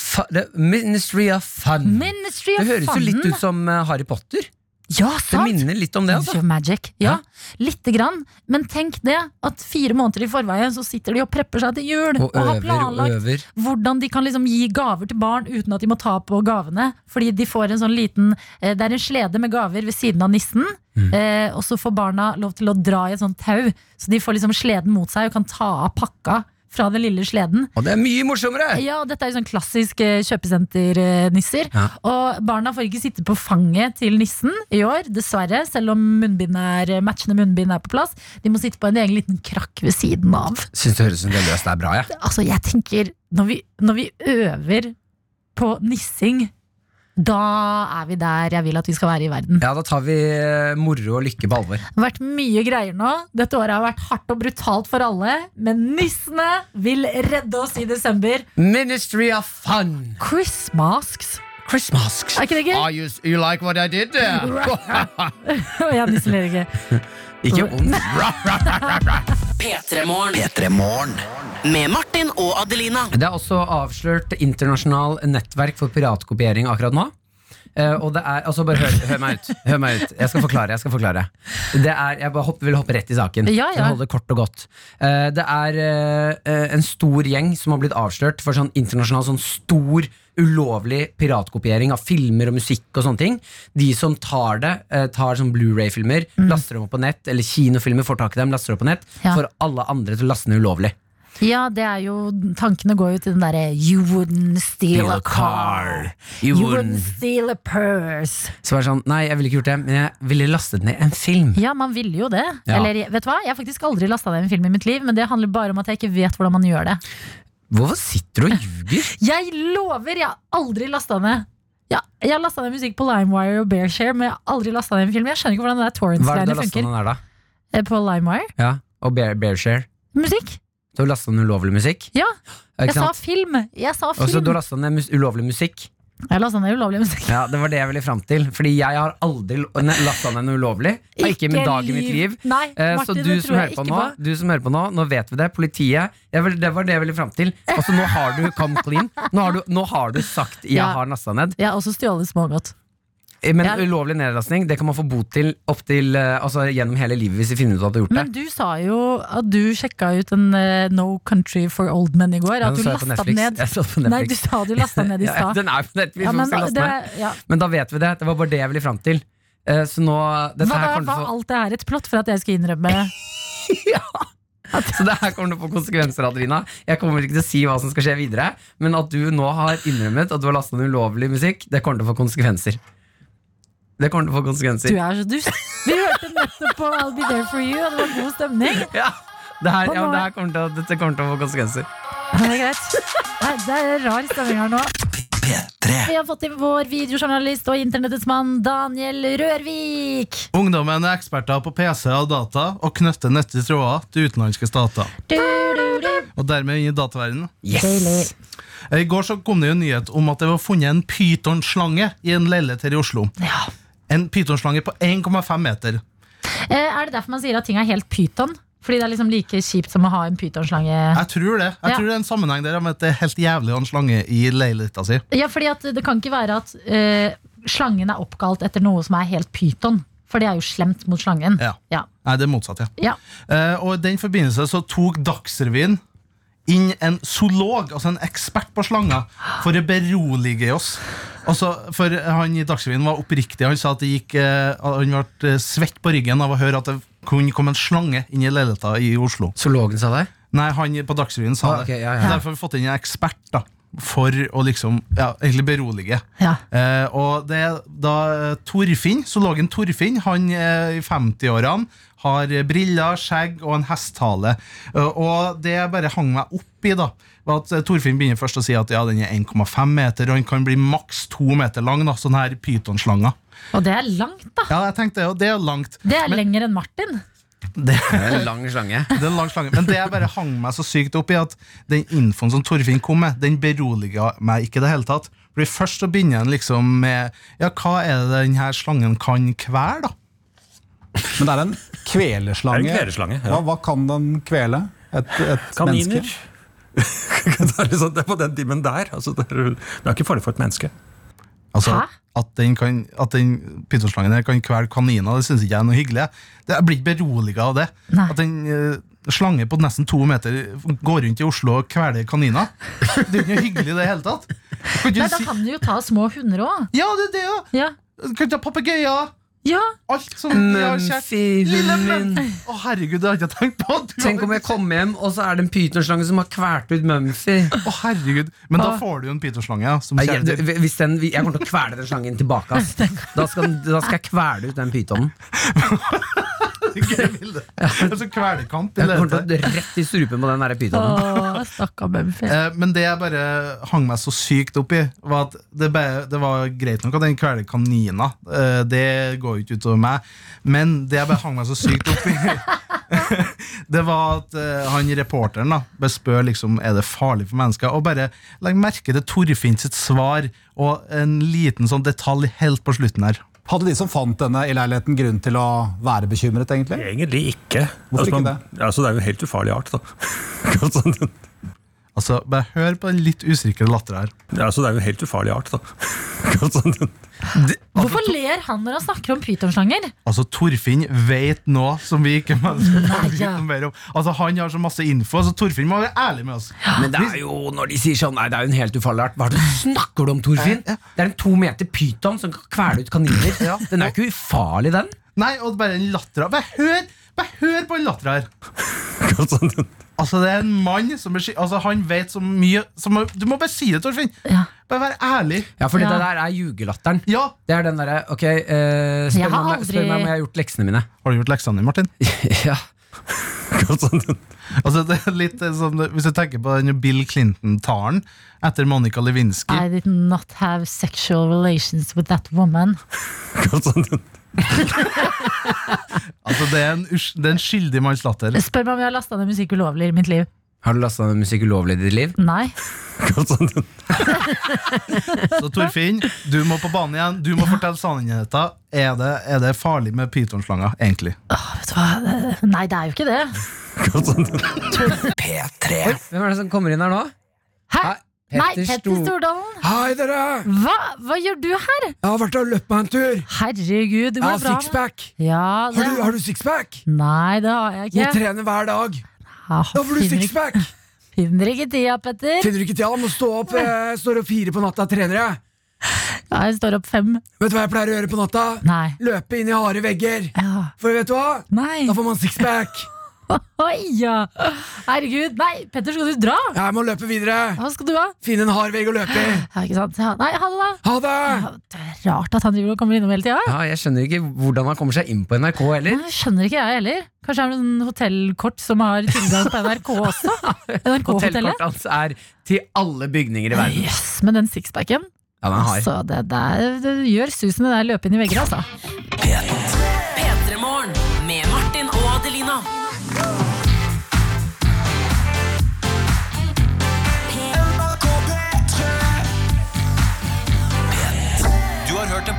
Speaker 3: Fa det, Ministry of Fun.
Speaker 2: Ministry of
Speaker 3: Mm. det høres jo
Speaker 2: Fun.
Speaker 3: litt ut som eh, Harry Potter.
Speaker 2: Ja,
Speaker 3: Det
Speaker 2: sant!
Speaker 3: minner litt om det. altså
Speaker 2: Ministry of Magic. Ja, lite grann. Men tenk det, at fire måneder i forveien så sitter de og prepper seg til jul.
Speaker 3: Og
Speaker 2: har
Speaker 3: øver og
Speaker 2: planlagt
Speaker 3: øver.
Speaker 2: hvordan de kan liksom gi gaver til barn uten at de må ta på gavene. Fordi de får en sånn liten eh, Det er en slede med gaver ved siden av nissen. Eh, og så får barna lov til å dra i et sånt tau, så de får liksom sleden mot seg og kan ta av pakka fra den lille sleden.
Speaker 3: Og det er mye morsommere!
Speaker 2: Ja, og dette er jo sånn klassisk eh, kjøpesenter-nisser.
Speaker 3: Ja.
Speaker 2: Og barna får ikke sitte på fanget til nissen i år, dessverre. Selv om munnbind er, eh, matchende munnbind er på plass. De må sitte på en egen liten krakk ved siden av.
Speaker 3: Syns det høres ut som det løst er bra, jeg.
Speaker 2: Altså, jeg tenker, når vi, når vi øver på nissing, da er vi der jeg vil at vi skal være i verden.
Speaker 3: Ja, da tar vi eh, moro og lykke på alvor.
Speaker 2: Det har vært mye greier nå. Dette året har vært hardt og brutalt for alle. Men nissene vil redde oss i desember.
Speaker 3: Ministry of Fun!
Speaker 2: Chris Masks.
Speaker 3: Christmas!
Speaker 2: Er ikke det gøy?
Speaker 10: you, you like what I did there?
Speaker 2: Og jeg nisseler ikke.
Speaker 3: Ikke ond.
Speaker 11: P3morgen. Med Martin og Adelina.
Speaker 3: Det er også avslørt internasjonal nettverk for piratkopiering akkurat nå. Eh, og det er, altså bare hør, hør meg ut, hør meg ut. Jeg skal forklare. Jeg skal forklare det er, Jeg bare hopp, vil hoppe rett i saken.
Speaker 2: Ja, ja.
Speaker 3: Jeg holder det kort og godt Eh, Det er eh, en stor gjeng som har blitt avslørt for sånn internasjonal sånn stor ulovlig piratkopiering av filmer og musikk og sånne ting. De som tar det, eh, tar sånn Blu-ray-filmer, laster dem opp på nett, eller kinofilmer får tak i dem, laster dem opp på nett,
Speaker 2: Mm. Ja.
Speaker 3: for alle andre til å laste ned ulovlig.
Speaker 2: Ja, det er jo Tankene går jo til den derre You wouldn't steal a car.
Speaker 3: You
Speaker 2: You
Speaker 3: wouldn't
Speaker 2: wouldn't steal a purse.
Speaker 3: Så var det sånn, nei, jeg ville ikke gjort det, men jeg ville lastet ned en film.
Speaker 2: Ja, man ville jo det.
Speaker 3: Ja.
Speaker 2: Eller vet du hva, jeg har faktisk aldri lasta ned en film i mitt liv, men det handler bare om at jeg ikke vet hvordan man gjør det.
Speaker 3: Hvorfor sitter du og ljuger?
Speaker 2: Jeg lover, jeg har aldri lasta ned. Ja, jeg har lasta ned musikk på LimeWire og Bearshare, men jeg har aldri lasta ned en film. Jeg skjønner ikke hvordan den der
Speaker 3: Hva er det du
Speaker 2: torrents-greiene
Speaker 3: har lastet
Speaker 2: funker.
Speaker 3: ned der, da?
Speaker 2: Eh, På LimeWire?
Speaker 3: Ja, Og Bear, Bearshare.
Speaker 2: Musikk?
Speaker 3: Du har lastet ned ulovlig musikk?
Speaker 2: Ja.
Speaker 3: Ikke
Speaker 2: Jeg sa
Speaker 3: sant?
Speaker 2: film! Jeg sa
Speaker 3: Og så
Speaker 2: film!
Speaker 3: du har lastet ned mus ulovlig musikk?
Speaker 2: Jeg lasta ned ulovlig musikk.
Speaker 3: Ja, Det var det jeg ville fram til. Fordi jeg har aldri lo- ne- lasta ned noe ulovlig. Har ikke min dag i mitt liv.
Speaker 2: Nei,
Speaker 3: Eh,
Speaker 2: Martin,
Speaker 3: så du
Speaker 2: det tror
Speaker 3: som,
Speaker 2: jeg
Speaker 3: hører på
Speaker 2: ikke
Speaker 3: nå,
Speaker 2: på.
Speaker 3: du som hører på nå, nå vet vi det. Politiet. Jeg vil, det var det jeg ville fram til. Og så nå har du come clean. Nå har du, nå har du sagt 'jeg
Speaker 2: Ja.
Speaker 3: har lasta ned'.
Speaker 2: Jeg har også stjålet smågodt.
Speaker 3: Eh, Men
Speaker 2: Ja.
Speaker 3: ulovlig nedlastning Det kan man få bot til opp til, eh, altså, gjennom hele livet hvis vi finner ut at du har gjort det.
Speaker 2: Men du sa jo at du sjekka ut en eh, No Country for Old Men i går.
Speaker 3: Ja, den
Speaker 2: At du
Speaker 3: så jeg på
Speaker 2: lasta den
Speaker 3: Netflix.
Speaker 2: ned.
Speaker 3: Jeg så den på
Speaker 2: Nei, du
Speaker 3: Netflix.
Speaker 2: sa du lasta den ned i
Speaker 3: Ja,
Speaker 2: stad.
Speaker 3: den er på Netflix.
Speaker 2: Ja,
Speaker 3: vi
Speaker 2: men
Speaker 3: skal laste
Speaker 2: det,
Speaker 3: ned.
Speaker 2: ja.
Speaker 3: Men da vet vi det. Det var bare det jeg ville fram til. Eh, Så nå dette
Speaker 2: Hva da
Speaker 3: her kommer
Speaker 2: var
Speaker 3: til å få,
Speaker 2: alt det her et plott for at jeg skal innrømme
Speaker 3: Så det her kommer til å få konsekvenser, Adelina. Jeg kommer ikke til å si hva som skal skje videre, men at du nå har innrømmet at du har lasta ned ulovlig musikk, det kommer til å få konsekvenser. Det kommer til å få
Speaker 2: du
Speaker 3: konsekvenser.
Speaker 2: er så dust? Vi hørte nettopp på I'll Be There For You, og det var god stemning.
Speaker 3: Ja, det her,
Speaker 2: Hva
Speaker 3: ja, men det
Speaker 2: nå?
Speaker 3: her kommer til, å- dette kommer til å få konsekvenser.
Speaker 2: Ja, Det er greit. Nei, Det er rar stemning her nå. Vi har fått inn vår videojournalist og internettets mann Daniel Rørvik.
Speaker 10: Ungdommen er eksperter på PC og data og knytter nøtte tråder til utenlandske stater.
Speaker 2: Du, du, du.
Speaker 10: Og dermed inn i dataverdenen.
Speaker 2: Deilig.
Speaker 10: I går så kom det jo en nyhet om at det var funnet en pytonslange i en leilighet her i Oslo.
Speaker 2: Ja.
Speaker 10: En pytonslange på 1,5 meter.
Speaker 2: Eh, Er det derfor man sier at ting er helt pyton? Fordi det er liksom like kjipt som å ha en pytonslange?
Speaker 10: Jeg tror det. Jeg
Speaker 2: Ja.
Speaker 10: tror det er en sammenheng der med at det er helt jævlig å ha en slange i leiligheta si.
Speaker 2: Ja, fordi at det kan ikke være at eh, slangen er oppkalt etter noe som er helt pyton. For det er jo slemt mot slangen.
Speaker 10: Ja.
Speaker 2: Ja.
Speaker 10: Nei, det er motsatt, ja.
Speaker 2: Ja.
Speaker 10: Eh, og i den forbindelse så tok Dagsrevyen inn en zoolog, altså en ekspert på slanger, for å berolige oss. Altså, for han i Dagsrevyen var oppriktig. Han sa at det gikk, eh, han ble svett på ryggen av å høre at det kunne komme en slange inn i leiligheta i Oslo.
Speaker 3: Zoologen sa det?
Speaker 10: Nei, han på Dagsrevyen sa
Speaker 3: Ah, ok,
Speaker 10: det.
Speaker 3: ja, ja.
Speaker 10: Derfor har vi fått inn en ekspert da, for å liksom, ja, egentlig berolige.
Speaker 2: Ja.
Speaker 10: Eh, og det er da eh, Torfinn, zoologen Torfinn, han eh, i 50-årene, har eh, briller, skjegg og en hesthale. Eh, og det jeg bare hang meg opp i, da, var at eh, Torfinn begynner først å si at ja, den er 1,5 meter, og den kan bli maks 2 meter lang, da, sånn her pytonslanger.
Speaker 2: Og det er langt, da.
Speaker 10: Ja, jeg tenkte, og det er langt.
Speaker 2: Det er lenger enn Martin.
Speaker 10: Det,
Speaker 3: Det er en lang slange.
Speaker 10: Det er en lang slange. Men det jeg bare hang meg så sykt opp i, at den infoen som Torfinn kom med, den beroliga meg ikke i det hele tatt. Fordi Først så begynner en liksom med Ja, hva er det den her slangen kan kvele, da?
Speaker 12: Men det er en kvelerslange.
Speaker 9: Det er en kvelerslange, ja.
Speaker 12: hva, hva kan den kvele? Et, et
Speaker 9: Kaniner.
Speaker 12: menneske?
Speaker 9: det, er liksom, det er på den timen der. Altså, det, er, det er ikke farlig for et menneske.
Speaker 10: Altså,
Speaker 2: Hæ?
Speaker 10: At den, kan, at den pytonslangen her kan kvele kaniner, det syns ikke jeg er noe hyggelig. Det, jeg blir ikke beroliga av det.
Speaker 2: Nei.
Speaker 10: At en eh, slange på nesten to meter går rundt i Oslo og kveler kaniner. Det er jo ikke noe hyggelig i det hele tatt. Kan ikke
Speaker 2: Nei,
Speaker 10: du
Speaker 2: da
Speaker 10: si,
Speaker 2: kan du jo ta små hunder òg.
Speaker 10: ja, det er det, ja!
Speaker 2: Ja.
Speaker 10: Kan ta papegøyer.
Speaker 2: ja.
Speaker 10: Alt sånt. Ja, kjært. Lille
Speaker 3: Mumphy-hunden min.
Speaker 10: Mumphy! Å, herregud, det har jeg ikke tenkt på! Du
Speaker 3: Tenk om jeg kommer hjem, og så er det en pytonslange som har kvært ut Mumphy.
Speaker 10: Å, herregud. Men da får du jo en pytonslange. ja, Som
Speaker 3: Jeg,
Speaker 10: kjæledyr.
Speaker 3: hvis den, jeg kommer til å kvele den slangen tilbake. Ass. Da, skal, da skal jeg kvele ut den pytonen.
Speaker 10: Gøy bilde. Altså, Kvelerkamp. i
Speaker 3: Jeg kommer
Speaker 10: leiligheten.
Speaker 3: til å Rett i strupen på den der pytonen.
Speaker 2: Å, stakkar Mumphy.
Speaker 10: Eh, Men det jeg bare hang meg så sykt opp i, var at det, bare, det var greit nok at den kveler kaniner. Eh, Det går jo ikke utover meg. Men det jeg bare hang meg så sykt opp i, det var at eh, han reporteren da bare spør liksom, er det farlig for mennesker. Og bare legg merke til Torfinn sitt svar og en liten sånn detalj helt på slutten her.
Speaker 12: Hadde de som fant denne i leiligheten, grunn til å være bekymret, egentlig?
Speaker 9: Egentlig ikke.
Speaker 12: Hvorfor
Speaker 9: altså,
Speaker 12: ikke
Speaker 9: det? Altså, det er jo en helt ufarlig art, da. altså, den-
Speaker 10: Altså, Bare hør på den litt usikrede latteren her.
Speaker 9: altså, det er jo en helt ufarlig art, da. altså, den-
Speaker 2: Hvorfor ler han når han snakker om pytonslanger?
Speaker 10: Altså, Torfinn vet nå som vi ikke mennesker får vite
Speaker 2: ja.
Speaker 10: noe mer om. Altså, Han har så masse info, så Torfinn må være ærlig med oss.
Speaker 3: Men det er jo når de sier sånn Nei, det er jo en helt ufarlig art. Hva er det du snakker du om, Torfinn? Det er en to meter pyton som kan kvele ut kaniner. Den er jo ikke ufarlig, den.
Speaker 10: Nei, og bare den latteren. Bare hør, bare hør på den latteren her.
Speaker 9: altså, den-
Speaker 10: Altså, det er en mann som er, sky- altså, han vet så mye som, Du må bare si det, Torfinn.
Speaker 2: Ja.
Speaker 10: Bare vær ærlig.
Speaker 3: Ja, for
Speaker 2: Ja.
Speaker 3: det der er ljugelatteren.
Speaker 10: Ja.
Speaker 3: Det er den derre Ok, eh, spør,
Speaker 2: Jeg har
Speaker 3: meg om jeg- spør
Speaker 2: aldri-
Speaker 3: meg om jeg har gjort leksene mine.
Speaker 10: Har du gjort leksene dine, Martin?
Speaker 3: ja
Speaker 10: Altså, det er litt eh, som, det- hvis du tenker på den Bill Clinton-talen etter Monica Lewinsky
Speaker 2: I did not have sexual relations with that woman.
Speaker 10: altså, det, er en, us- det er en skyldig manns latter.
Speaker 2: Spør meg om jeg har lasta ned musikk ulovlig i mitt liv.
Speaker 3: Har du lasta ned musikk ulovlig i ditt liv?
Speaker 2: Nei.
Speaker 10: Så Torfinn, du må på banen igjen. Du må fortelle sannheten. Er det, er det farlig med pytonslanger, egentlig?
Speaker 2: Vet du hva? Det- Nei, det er jo ikke det.
Speaker 3: Oi, hvem er det som kommer inn her nå?
Speaker 2: Hæ?
Speaker 3: Hei,
Speaker 2: Nei,
Speaker 3: Petter
Speaker 2: Petter
Speaker 3: Stor-
Speaker 2: Stordalen.
Speaker 3: Hei, dere!
Speaker 2: Hva? Hva gjør du her?
Speaker 3: Jeg har vært og løpt meg en tur.
Speaker 2: Herregud, du
Speaker 3: Jeg
Speaker 2: må
Speaker 3: har
Speaker 2: bra.
Speaker 3: sixpack.
Speaker 2: Ja, det.
Speaker 3: Har du, har du sixpack?
Speaker 2: Nei, det har jeg
Speaker 3: Må
Speaker 2: ikke.
Speaker 3: trene hver dag.
Speaker 2: Ja,
Speaker 3: Da får du
Speaker 2: finner ikke-
Speaker 3: sixpack!
Speaker 2: Finner ikke tida, Petter.
Speaker 3: Finner du ikke tida? Må stå opp eh, står opp fire på natta og trener, jeg.
Speaker 2: Ja, jeg står opp fem.
Speaker 3: Vet du hva jeg pleier å gjøre på natta?
Speaker 2: Nei.
Speaker 3: Løpe inn i harde vegger.
Speaker 2: Ja.
Speaker 3: For vet du hva?
Speaker 2: Nei.
Speaker 3: Da får man sixpack.
Speaker 2: Oi, ja. Herregud. Nei, Petter, skal du dra?
Speaker 3: Jeg må løpe videre.
Speaker 2: Hva skal du ha?
Speaker 3: Finne en hard vegg å løpe i.
Speaker 2: Ja, ikke sant? Ja. Nei, ha det, da.
Speaker 3: Ha det!
Speaker 2: Ja, Det er rart at han driver og kommer innom hele tida.
Speaker 3: Ja, Jeg skjønner ikke hvordan han kommer seg inn på NRK heller.
Speaker 2: Det skjønner ikke jeg heller. Kanskje han har noen hotellkort som har tilgang på NRK også? NRK-hotellet?
Speaker 3: Hotellkortet hans er til alle bygninger i verden.
Speaker 2: Yes, men den sixpacken,
Speaker 3: Ja, den har.
Speaker 2: altså, det, der- det gjør susen det der løpe inn i vegger, altså.
Speaker 4: P3morgen med Martin og Adelina.
Speaker 1: Du har hørt en